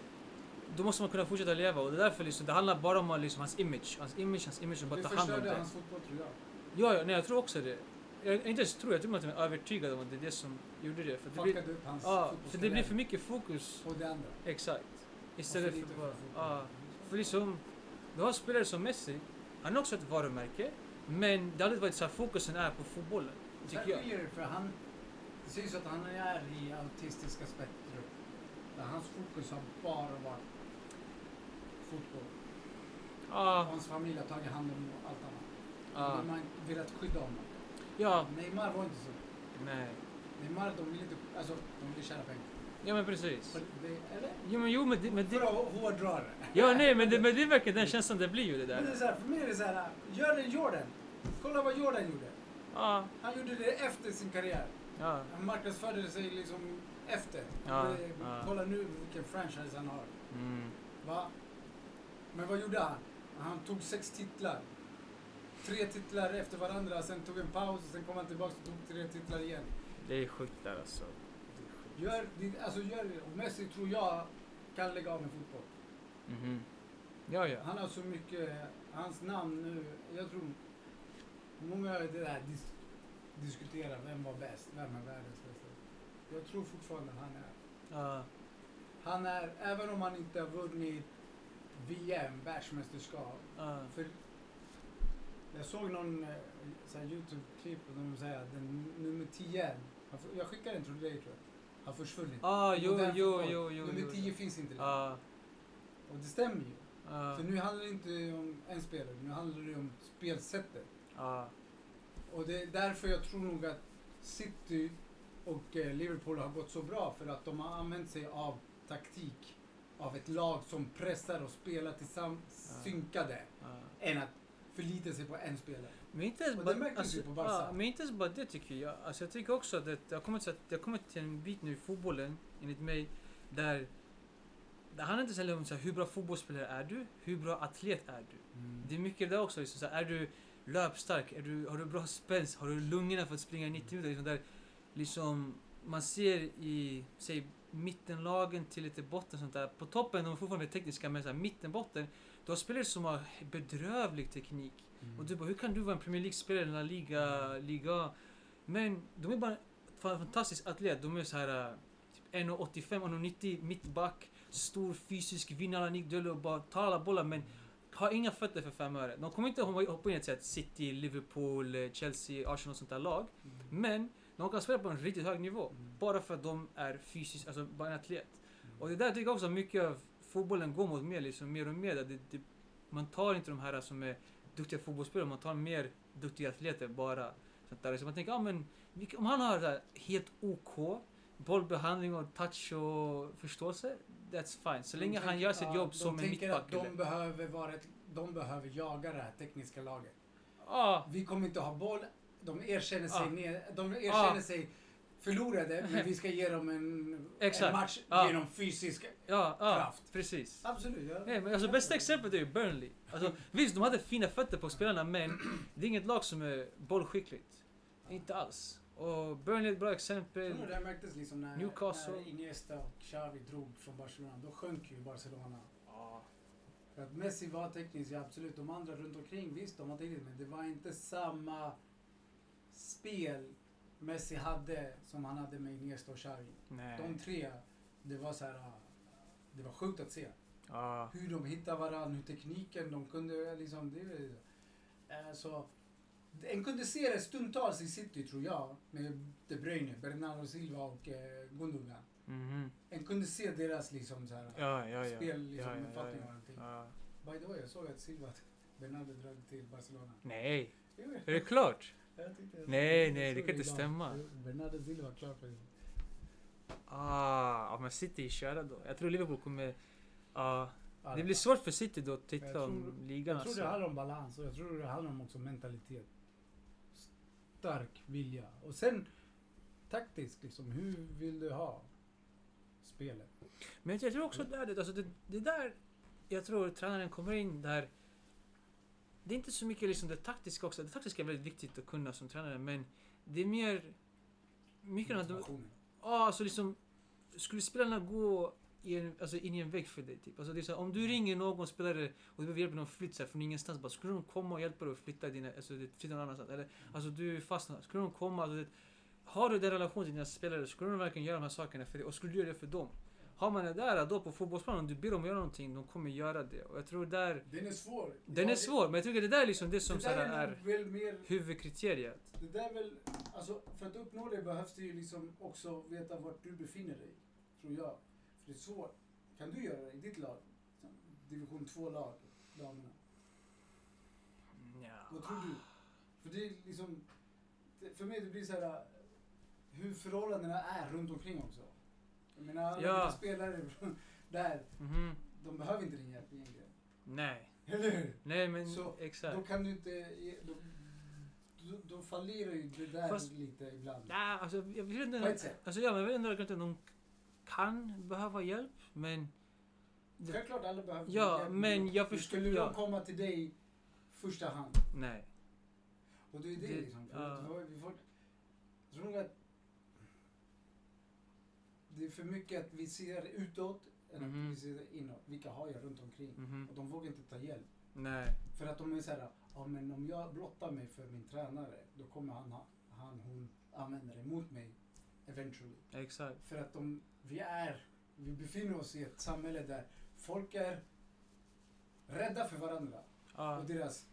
då måste man kunna fortsätta leva och det är därför liksom, det handlar bara om liksom, hans image, hans image, hans image och bara det ta hand om förstörde det. hans fotboll tror jag. Ja, ja, nej jag tror också det. Jag inte ens tror, jag tror man är övertygad om att det är det som gjorde det. För det, blir, Fuckade upp hans ja, för det fotbollskarriär. blir för mycket fokus Och det andra. Exakt. Och Istället för Alltså, för lite bara... för fotboll. Ja. För liksom, du har spelare som Messi, han är också ett varumärke. Men det har aldrig varit så här fokusen är på fotbollen. Sen Tycker jag. skiljer det för han... Det syns att han är i autistiska spektrum. Där hans fokus har bara varit fotboll. Och Ja, hans familj har tagit hand om allt annat. ja, De har velat skydda honom. ja, Neymar var inte så. nej. Neymar, de vill inte... Alltså, de vill tjäna pengar. Ja men precis. För det, eller? Jo men jo men det... Men För det att hårdra det. ja nej men det, men det är verkligen den känslan det blir ju det Men det är där. så här, för mig är det så här, gör en Jordan. Kolla vad Jordan gjorde. Ja, Han gjorde det efter sin karriär. ja, Han marknadsförde sig liksom efter. Ja, Det- ja. Kolla nu vilken franchise han har. mm, Va? Men vad gjorde han? Han tog sex titlar. Tre titlar efter varandra, sen tog en paus och sen kom han tillbaka och tog tre titlar igen. det är sjukt där alltså. Gör, din- alltså gör det. Och Messi tror jag kan lägga av med fotboll. Mhm. Ja ja. Han har så mycket, hans namn nu, jag tror många av det där dis, diskuterar vem var bäst, vem är världens bästa. Jag tror fortfarande han är. Ja, Han är, även om han inte har vunnit VM, världsmästerskap. ja, För jag såg någon eh, så här Youtube-klipp där de säger att den nummer 10, han, f- jag skickade den till dig tror jag, har försvunnit. Ah, jo, Modern jo, fotboll. jo, jo, Nummer jo. 10 finns inte längre. ja, Och det stämmer ju. Ja. För nu handlar det inte om en spelare, nu handlar det om spelsättet. Ja. Och det är därför jag tror nog att City och eh, Liverpool har gått så bra. För att de har använt sig av taktik. Av ett lag som pressar och spelar tillsammans, Ja. synkade. ja. Än att förlita sig på en spelare. Men inte ens Och bara- det märktes ju på Barca. ja, men inte ens bara det tycker jag. Alltså jag tycker också att det, det, har kommit, så att det har kommit till en bit nu i fotbollen, enligt mig, där det handlar inte så heller om så här, hur bra fotbollsspelare är du? Hur bra atlet är du? Mm. Det är mycket det där också. Liksom, så här, är du löpstark? Är du, har du bra spänst? Har du lungorna för att springa 90 minuter? Liksom, där, liksom, man ser i säg, mittenlagen till lite botten sånt där. På toppen, de är fortfarande tekniska, men så här, mittenbotten, du har spelare som har bedrövlig teknik. Och Mm. du bara, hur kan du vara en Premier League-spelare i en La Liga, liga? Men de är bara fan- fantastisk atlet. De är så här eh, typ 1,85, 1,90, mittback, stor fysisk, vinner alla nickdueller och bara tar alla bollar men har inga fötter för fem öre. De kommer inte hoppa hoppa in i ett så här City, Liverpool, eh, Chelsea, Arsenal och sånt där lag. Mm. Men de kan spela på en riktigt hög nivå. Bara för att de är fysiskt, alltså bara en atlet. Och det där tycker jag också mycket av fotbollen går mot mer, liksom mer och mer. där Det, det, man tar inte de här som är duktiga fotbollsspelare, man tar mer duktiga atleter bara. Sånt där. Så man tänker, ja men vilka- om han har så här, helt OK bollbehandling och touch och förståelse, that's fine. Så De länge han tänker- gör sitt ja, jobb som en mittback. De tänker eller- att de behöver, vara ett, de behöver jaga det här tekniska laget. Ja, Vi kommer inte ha boll. De erkänner sig, Ja. ner, de erkänner Ja. sig förlorade, men vi ska ge dem en, en Exakt. match Ja. genom fysisk... ja, ja, Kraft. precis. Absolut. jag- Nej, men alltså bästa exemplet är ju Burnley. Alltså, visst, de hade fina fötter på spelarna, men det är inget lag som är bollskickligt. Inte alls. Och Burnley är ett bra Jag tror exempel. nog det här märktes liksom när, Newcastle. när Iniesta och Xavi drog från Barcelona. Då sjönk ju Barcelona. Ja, För att Messi var teknisk, ja, absolut. De andra runt omkring, visst de var tekniska, men det var inte samma spel Messi hade som han hade med Iniesta och Xavi. De nej. tre, det var så här, ah, det var sjukt att se. Ja, Hur de hittade varandra, hur tekniken de kunde liksom, det är, eh, så en kunde se det stundtals i city tror jag, med De Bruyne, Bernardo Silva och eh, Gundogan. mhm. En kunde se deras liksom så här, Ja, ja, ja. spel, liksom, ja, ja, uppfattning och ja, allting. ja. By the way, jag såg att Silva, Bernardo drog till Barcelona. Nej, Jo, är det klart? jag tyckte jag Nej, såg nej, det såg kan inte idag. stämma. Jo, Bernardo Silva klar för Ah, ja, men City är körda då. Jag tror Liverpool kommer... Ja, det blir Alba. svårt för City då att Jag titta tror- om ligan Jag tror det alltså. handlar om balans och jag tror det handlar om också mentalitet. Stark vilja. Och sen taktiskt liksom, hur vill du ha spelet? Men jag tror också att det är det. Alltså det, det där jag tror tränaren kommer in där. Det är inte så mycket liksom det taktiska också. Det taktiska är väldigt viktigt att kunna som tränare men det är mer... Mycket annat. Motivationen. Ja, alltså liksom... Skulle spelarna gå i en, alltså in i en vägg för dig? Typ? Alltså det är så här, om Mm. du ringer någon spelare och du behöver hjälp med någon flytt så här, från ingenstans. Bara, skulle de komma och hjälpa dig att flytta, dina, alltså, det- flytta någon annanstans? Eller alltså du fastnar. Skulle de komma? Alltså, det, har du den relationen till dina spelare? Skulle de verkligen göra de här sakerna för dig? Och skulle du göra det för dem? Har man det där då på fotbollsplanen, om du ber dem göra någonting, de kommer göra det. Och jag tror där... Den är svår. Den Ja, är svår, men jag tycker det där är liksom det som det så här, där är är nog väl mer huvudkriteriet. Det där är väl, alltså för att uppnå det behövs det ju liksom också veta vart du befinner dig, tror jag. För det är svårt. Kan du göra det i ditt lag? Division 2-lag, damerna. Ja. Vad tror du? För det är liksom, det- för mig det blir så här hur förhållandena är runt omkring också. Jag menar, alla Ja. dina spelare där, Mhm. de behöver inte din hjälp egentligen. Nej. Eller hur? Nej men Så, exakt. Då kan du inte, ge- då, då, då fallerar ju det där Fast- lite ibland. Nej, alltså jag vill På inte... ett sätt. Alltså ja, men jag vill ändå att de kan behöva hjälp, men... Det- Självklart alla behöver Ja, hjälp, men jag hur förstår- Skulle ja. de komma till dig i första hand? Nej. Och det är det, Det- liksom. För ja. att vad- vi får, jag tror nog att det är för mycket att vi ser utåt än att Mhm. vi ser inåt. Vilka har jag runt omkring? Mhm. Och de vågar inte ta hjälp. Nej. För att de är så här, ja men om jag blottar mig för min tränare, då kommer han, ha- han hon använda det mot mig eventually. Exakt. För att de, vi är, vi befinner oss i ett samhälle där folk är rädda för varandra Ja. och deras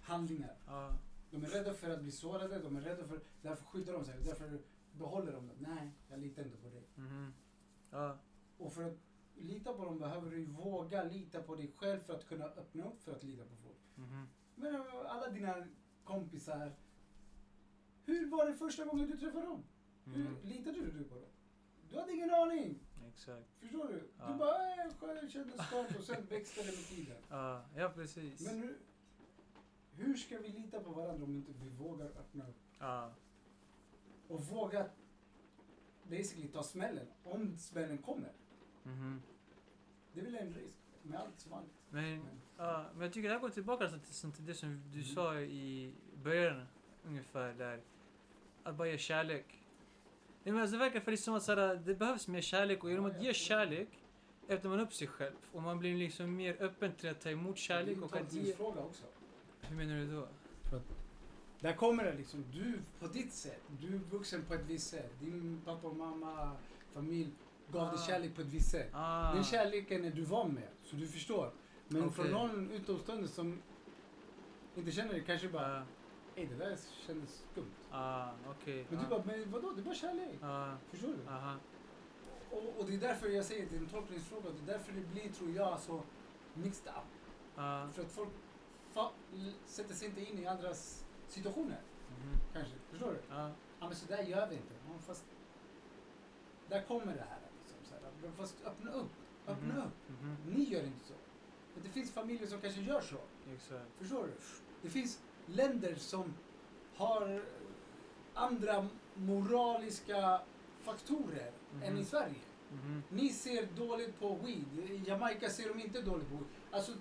handlingar. Ja. De är rädda för att bli sårade, de är rädda för... Därför skyddar de sig, därför behåller de det. Nej, jag litar inte på dig. Mhm. Ja. Och för att lita på dem behöver du ju våga lita på dig själv för att kunna öppna upp för att lita på folk. Mhm. Men eh, alla dina kompisar, hur var det första gången du träffade dem? Mm. Hur litade du på dem? Du hade ingen aning, Exakt. förstår du? Ja. Du bara äh, skön- kände start och sen växte det med tiden. Ja, ja precis. Men hur, hur ska vi lita på varandra om inte vi vågar öppna upp? Ja, Och våga basically ta smällen, om smällen kommer. mhm. Det är väl en risk med allt som allt. Men, ja, men jag tycker det här går tillbaka alltså till, som till det som du Mm. sa i början ungefär där. Att bara ge kärlek. Nej, men alltså, det verkar faktiskt som att så här, det behövs mer kärlek och genom att ge kärlek öppnar man upp sig själv och man blir liksom mer öppen till att ta emot kärlek och Det är en att ge. tolkningsfråga också. Hur menar du då? Där kommer det liksom, du på ditt sätt, du är vuxen på ett visst sätt. Din pappa och mamma, familj gav dig Ah. kärlek på ett visst sätt. Ah, Den kärleken är du van med, så du förstår. Men Okej. från någon utomstående som inte känner det kanske bara, ah, ey det där kändes skumt. ah, okej. Men ah, du bara, men vadå, det var kärlek. ah, Förstår du? aha, Och, och det är därför jag säger att det är en tolkningsfråga. Det är därför det blir, tror jag, så mixed up. ah, För att folk fa- l- sätter sig inte in i andras situationer, mhm, kanske. Förstår du? ah, Ja, men så där gör vi inte. Ja, fast där kommer det här. Liksom, så här. Men Fast öppna upp. Öppna Mhm. upp. mhm, Ni gör inte så. Men det finns familjer som kanske gör så. exakt. Förstår du? Det finns länder som har andra moraliska faktorer än Mhm. i Sverige. Mhm, Ni ser dåligt på weed. I Jamaica ser de inte dåligt på weed. Alltså,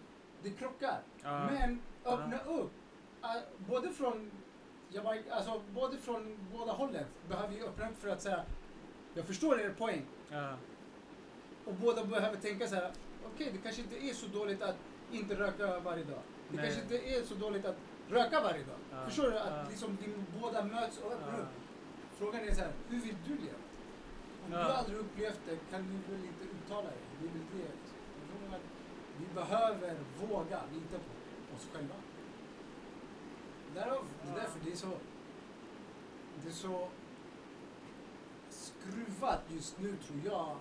det krockar. ah, Men Ja. öppna upp. Ah, Både från, jag bara, alltså, både från båda hållen behöver ju öppna upp för att säga jag förstår er poäng. ah, Och båda behöver tänka så här. okej det kanske inte är så dåligt att inte röka varje dag. Det Nej. kanske inte är så dåligt att röka varje dag. Ja. Förstår du? Att Ja. liksom vi båda möts och öppnar ah. upp. Frågan är så här, hur vill du leva? Om Ja. du aldrig upplevt det kan du väl inte uttala dig. Det är väl det. Jag tror att Vi behöver våga lita på oss själva. Därav, det är Ja. därför det är så... Det är så skruvat just nu tror jag.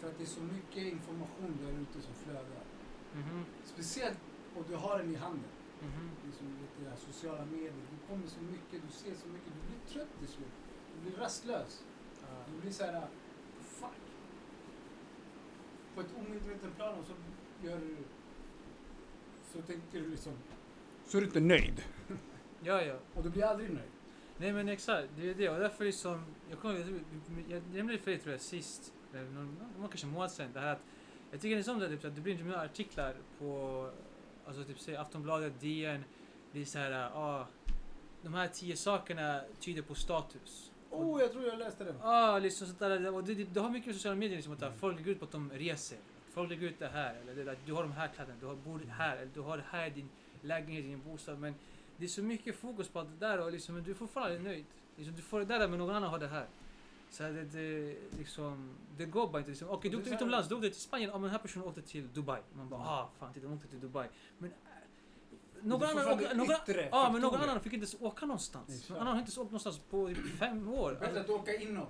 För att det är så mycket information där ute som flödar. Mhm, Speciellt om du har den i handen. mhm. Liksom lite det här sociala medier. Du kommer så mycket, du ser så mycket. Du blir trött till slut. Du blir rastlös. Ah. Du blir så här, fuck. På ett omedvetet plan och så gör du... Så tänker du liksom... Så är du inte nöjd. Ja, ja. Och du blir aldrig nöjd. Nej men exakt, det är det. Och därför liksom, jag kommer jag, jag nämnde det för dig tror jag sist, eller någon, det var kanske en månad sedan, det här att jag tycker det är som det, typ, att det blir inte många artiklar på, alltså typ säg Aftonbladet, DN, det är så här, ah, de här tio sakerna tyder på status. Oh, jag tror jag läste det. Ja, ah, liksom sånt där. Och det, det, det har mycket med sociala medier liksom, att folk lägger ut på att de reser. Folk lägger ut det här, eller det, där, du har de här kläderna, du har, bor Mm. här, eller du har det här i din lägenhet, i din bostad. Men det är så mycket fokus på allt det där och liksom, men du är fortfarande aldrig nöjd. Liksom, du får det där men någon annan har det här. Så här, det, det, liksom, det går bara inte. Liksom. Okej, det du är åkte så här- Mm. utomlands, du åkte till Spanien, ja men den här personen åkte till Dubai. Man bara, ah fan titta, de åkte till Dubai. Men äh, någon Det är annan, fortfarande åkte- någon, yttre ja, men någon faktorer. annan fick inte ens åka någonstans. Exakt. Någon annan har inte ens åkt någonstans på typ fem år. Bättre att åka inåt.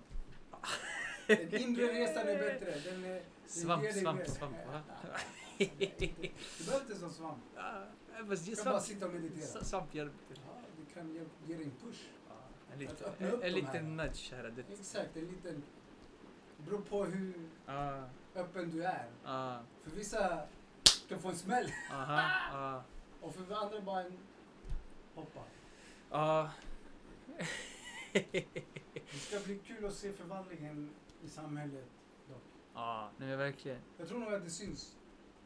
Den inre resan är bättre. Den är, Svamp, den ger dig svamp, mer. svamp, va? Du behöver inte som svamp. Ah, fast Du ge kan bara svamp, sitta och meditera. s- svamp hjälper. Ja, det kan ge, ge dig en push. En Att liten, öppna upp en, en de här. liten nudge här. Det, Exakt, en liten... Det beror på hur ah, öppen du är. ah, För vissa kan få en smäll aha, ah, och för andra bara en hoppa. ah, Det ska bli kul att se förvandlingen i samhället dock. ah, nej men verkligen. Jag tror nog att det syns.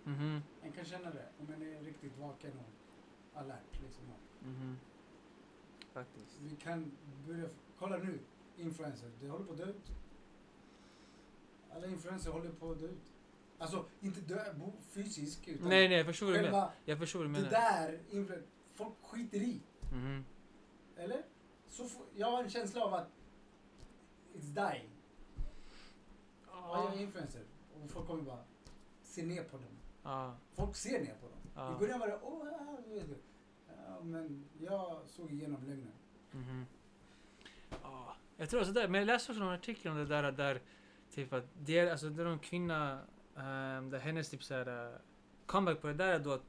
Mhm, Man kan känna det om man är riktigt vaken och alert. Liksom. mhm. Faktiskt. Vi kan börja... Kolla nu, influencers. Det håller på att dö ut. Alla influencers håller på att dö ut. Alltså, inte dö bo fysiskt utan Nej, nej, jag förstår vad du menar. själva Jag förstår vad du det menar. där influ- folk skiter i. Mhm, Eller? Så få- jag har en känsla av att it's dying. Ja, jag är influencer. Och folk kommer bara se ner på dem. ah, Folk ser ner på dem. ah, I början var det åh, ja, du vet du." ja, men jag såg igenom lögnen. mhm. Ah, jag tror alltså där, men jag läste också någon artikel om det där, där typ att det är, alltså det är någon kvinna Ehm, där hennes typ så här, eh, comeback på det där är då att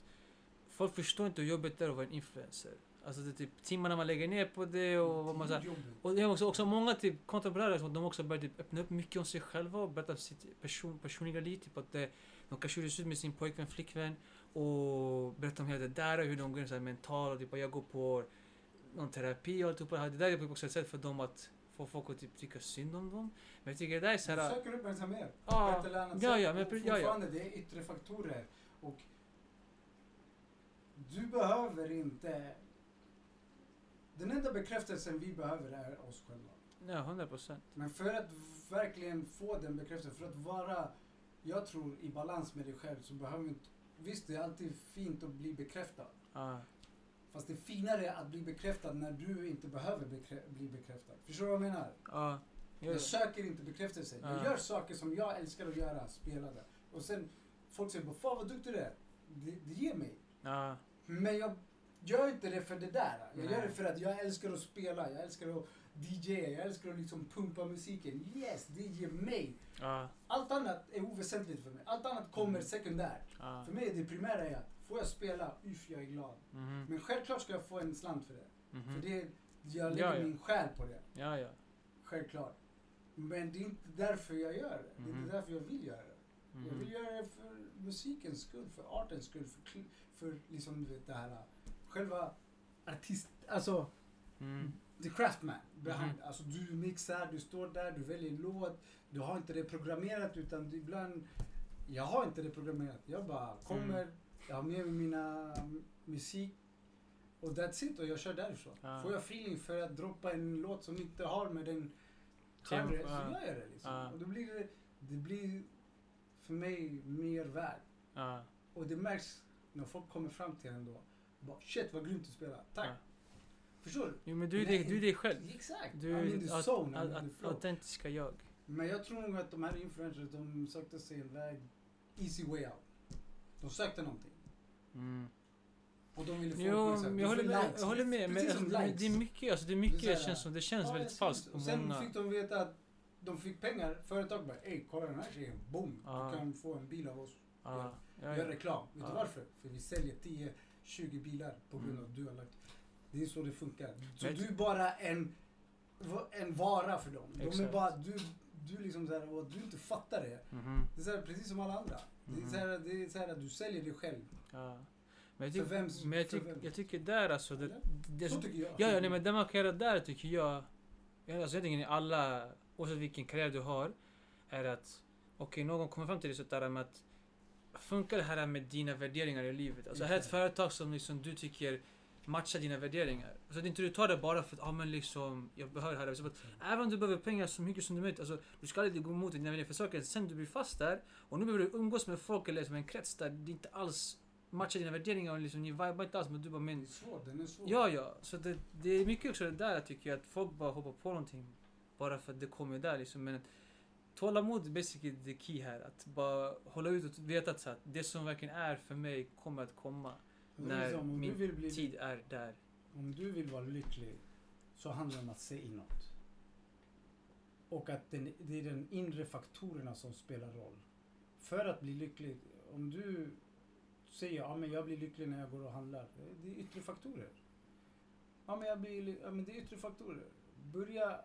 folk förstår inte hur jobbigt det är att vara en influencer. Alltså det är typ timmarna man lägger ner på det och vad man så här, Jobbigt. och det är också, också många typ kontemporära som de också börjar typ öppna upp mycket om sig själva och berätta om sitt person, personliga liv. Typ att det, de kanske gjorde slut med sin pojkvän, flickvän och berätta om hela det där och hur de går in så här mentalt och typ jag går på någon terapi och alltihopa. det här. Det där är typ också ett sätt för dem att få folk att typ tycka synd om dem. Men jag tycker det där är ah, Du såhär... söker uppmärksamhet. på Ja, ett eller annat ja, sätt. ja, men Och pre- ja, ja. fortfarande, det är yttre faktorer. Och du behöver inte... Den enda bekräftelsen vi behöver är oss själva. ja, 100 procent. Men för att verkligen få den bekräftelsen, för att vara, jag tror, i balans med dig själv så behöver du inte... Visst, det är alltid fint att bli bekräftad. Ja, Fast det är finare att bli bekräftad när du inte behöver bekrä- bli bekräftad. Förstår du vad jag menar? ja. Jag söker inte bekräftelse. Ja. Jag gör saker som jag älskar att göra, spela det. Och sen, folk säger bara “Fan vad duktig du är”. Det, det ger mig. Ja, Men jag gör inte det för det där. Jag Nej. gör det för att jag älskar att spela, jag älskar att DJ, jag älskar att liksom pumpa musiken. Yes, det ger mig. ja, Allt annat är oväsentligt för mig. Allt annat kommer sekundärt. Mm. ja. För mig är det primära är att, får jag spela, uff jag är glad. Mhm, Men självklart ska jag få en slant för det. mhm. För det, jag Ja, lägger ja. min själ på det. Ja, ja. Självklart. Men det är inte därför jag gör det. Det är Mhm. inte därför jag vill göra det. Jag vill Mhm. göra det för musikens skull, för artens skull, för, kli- för liksom du vet det här själva artist, alltså Mm. the craftman behind. Mhm. Alltså du mixar, du står där, du väljer låt. Du har inte det programmerat utan du ibland, jag har inte det programmerat. Jag bara kommer, jag har med mig mina musik och that's it och jag kör därifrån. Ja. Får jag feeling för att droppa en låt som inte har med den Tempo, genren, så ja. gör jag det liksom. Ja. Och då blir det, det blir för mig mer värt. Ja, Och det märks när folk kommer fram till en då. Bara, Shit vad grymt du spelar, tack! Ja. Förstår du? Jo, men du är dig- du är dig själv. Exakt! Du Du, I'm är in ditt the aut- aut- zone, I'm in the aut- flow. autentiska jag. Men jag tror nog att de här influencers, de sökte sig en väg, easy way out. De sökte någonting. Mm. Och de ville få Jo, uppmärksamhet. men De jag håller ville med. likes. Jag håller med. Men Precis alltså, som det likes. det är mycket, alltså det är Det är mycket så här- känns som, det Ja, känns det väldigt syns. falskt på Och sen många. fick de veta att de fick pengar, företag bara ey kolla den här tjejen, boom! Ja. Du kan få en bil av oss. Ja, ja, Gör ja. reklam. Vet Ja. du varför? För vi säljer 10-20 bilar på grund Mm. av att du har lagt. Det är så det funkar. Så Men- du är bara en, va- en vara för dem. De är Exakt. bara, du, du liksom så här, och du inte fattar det. Mhm, Det är så här, precis som alla andra. Det, är Mhm. så här, det är så här, du säljer dig själv. ja. Men jag För tycker, vems- men jag för tycker, vem? jag tycker där alltså, det, Eller? det, så tycker jag. Ja, ja, nej, men det man kan göra där tycker jag, ja, alltså egentligen i alla, oavsett vilken karriär du har, är att okej, någon kommer fram till dig sådär med att funkar det här med dina värderingar i livet? Alltså här är ett Exakt. företag som liksom du tycker matchar dina värderingar. Så att inte du tar det bara för att, ja ah, men liksom, jag behöver det här. Så att, även om du behöver pengar så mycket som du möjligt, alltså du ska aldrig gå emot dina värderingar för saker, sen du blir fast där och nu behöver du umgås med folk eller som en krets där det inte alls matchar dina värderingar och liksom, ni vibar inte alls men du bara men Det är svårt, den är svår. Ja, ja. Så det, det är mycket också det där tycker jag, att folk bara hoppar på någonting bara för att det kommer där liksom. Men tålamod är basically the key här. Att bara hålla ut och veta att så här, det som verkligen är för mig kommer att komma. Det är när liksom, om, min du vill bli, Tid är där. om du vill vara lycklig så handlar det om att se inåt. Och att den, det är den inre faktorerna som spelar roll. För att bli lycklig, om du säger ja men jag blir lycklig när jag går och handlar. Det är yttre faktorer. Ja men, jag blir, ly- ja, men det är yttre faktorer. Börja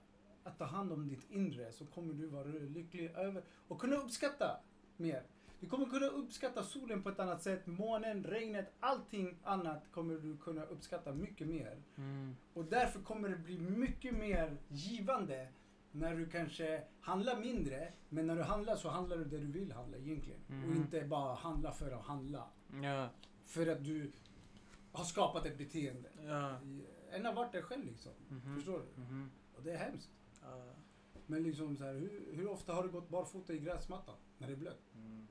att ta hand om ditt inre så kommer du vara lycklig över och kunna uppskatta mer. Du kommer kunna uppskatta solen på ett annat sätt, månen, regnet, allting annat kommer du kunna uppskatta mycket mer. Mm. Och därför kommer det bli mycket mer givande när du kanske handlar mindre, men när du handlar så handlar du det du vill handla egentligen. Mm. Och inte bara handla för att handla. Ja, För att du har skapat ett beteende. ja. En har varit dig själv liksom. Mhm. Förstår du? Mhm. Och det är hemskt. Ja. Men liksom så här, hur, hur ofta har du gått barfota i gräsmattan när det är blött? Mm.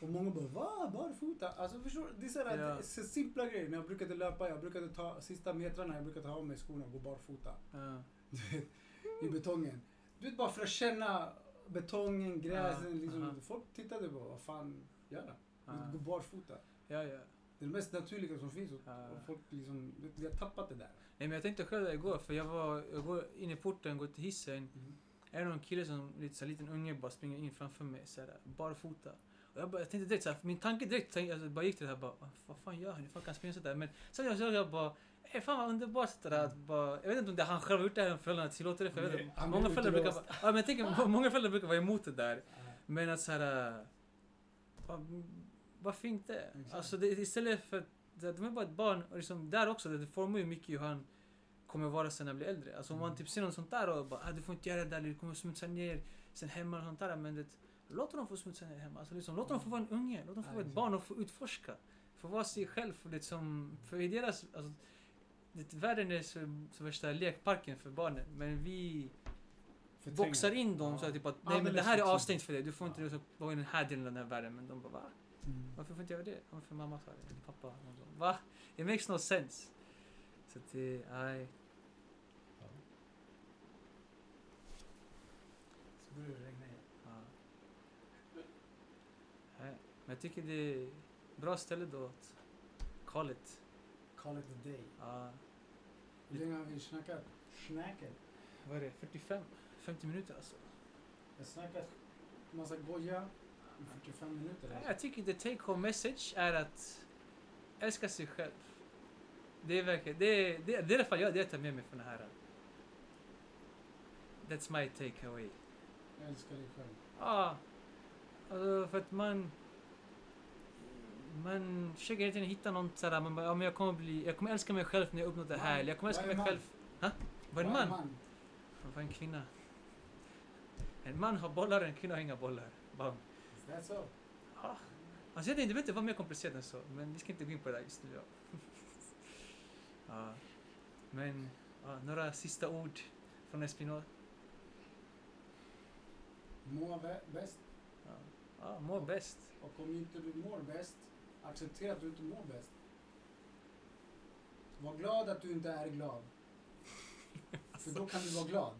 Och många bara va? Barfota? Alltså förstår du? Det är så, här, Ja. det är så simpla grejer. När jag brukade löpa, jag brukade ta sista metrarna, jag brukade ta av mig skorna och gå barfota. Ja. Du vet, i Mm. betongen. Du vet bara för att känna betongen, gräset. Ja, liksom, aha. Folk tittade på vad fan gör han? Ja. Gå barfota. Ja, ja. Det är det mest naturliga som finns. Och, Ja. och folk liksom, du vet, vi har tappat det där. Mm. Nej, men jag tänkte själv igår, för jag var, jag går in i porten, går till hissen är det någon kille som lite så här, liten unge bara springer in framför mig så här, barfota. Och jag, bara, jag tänkte direkt så här, min tanke direkt tänkte, alltså, bara gick till det här bara, vad fan gör han? Hur fan kan han springa sådär? Men sen jag såg jag bara, Ey, fan vad underbart så där, att bara, jag vet inte om det är han själv har gjort det här om föräldrarna tillåter det för jag vet inte. Mm. Han blir Många föräldrar brukar utlåst. vara- ja, men jag tänker, må- många föräldrar brukar vara emot det där. Men att såhär... äh, vad- Varför inte? Exakt. Alltså det, istället för att... det- De är bara ett barn och liksom där också, det formar ju mycket hur han kommer vara sen när han blir äldre. Alltså om man Mm. typ ser något sånt där och bara ah, du får inte göra det där, du kommer smutsa ner sen hemma och sånt där. Men det, låt dem få smutsa ner hemma. Alltså liksom, låt dem få vara en unge, låt dem få Mm. Ja, vara ett exakt. barn och få utforska. Få vara sig själv, för liksom, för i deras... Alltså, det, världen är så, så värsta lekparken för barnen, men vi Förtränger. boxar in dem Ja. så här, typ att nej men Alldeles det här är för avstängt för dig, du får inte Ja. liksom vara i den här delen av den här världen. Men de bara va? Mm. Varför får inte jag göra det? Ja, men för mamma sa det, eller pappa. Och de, Va? It makes no sense. Så att det, nej. Ja. Så börjar det regna igen. Ja. Nej. Men jag tycker det är bra ställe då att call it. Call it a day. Ja. Hur länge har vi snackat? Snackat? Vad är det? 45? 50 minuter alltså? Jag har snackat massa goja i 45 minuter. Nej, Alltså. Jag tycker the take home message är att älska sig själv. Det är verkligen, det är, det, det är i alla fall jag, det jag tar med mig från det här. That's my take away. Jag älskar dig själv. Ja, alltså för att man... Man försöker hela tiden hitta något sådär, man bara, ja, men jag kommer bli, jag kommer älska mig själv när jag uppnått det här. Man. eller Jag kommer älska Vad mig är man? själv. Ha? Var en Vad är man? Vad var en kvinna? En man har bollar, en kvinna har inga bollar. Bam. That's all. Ah. Alltså jag tänkte, det vet inte vad mer komplicerat än så, men vi ska inte gå in på det där just nu. Ja. ja. Men, ja, några sista ord från Espinal. Må vä- bäst. Ja. Ja, Ah, må bäst. Och om inte du mår bäst, acceptera att du inte mår bäst. Var glad att du inte är glad. För då kan du vara glad.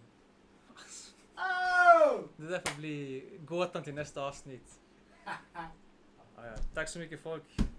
Oh! Det där får bli gåtan till nästa avsnitt. Ja, ja. Ah, Tack så mycket folk.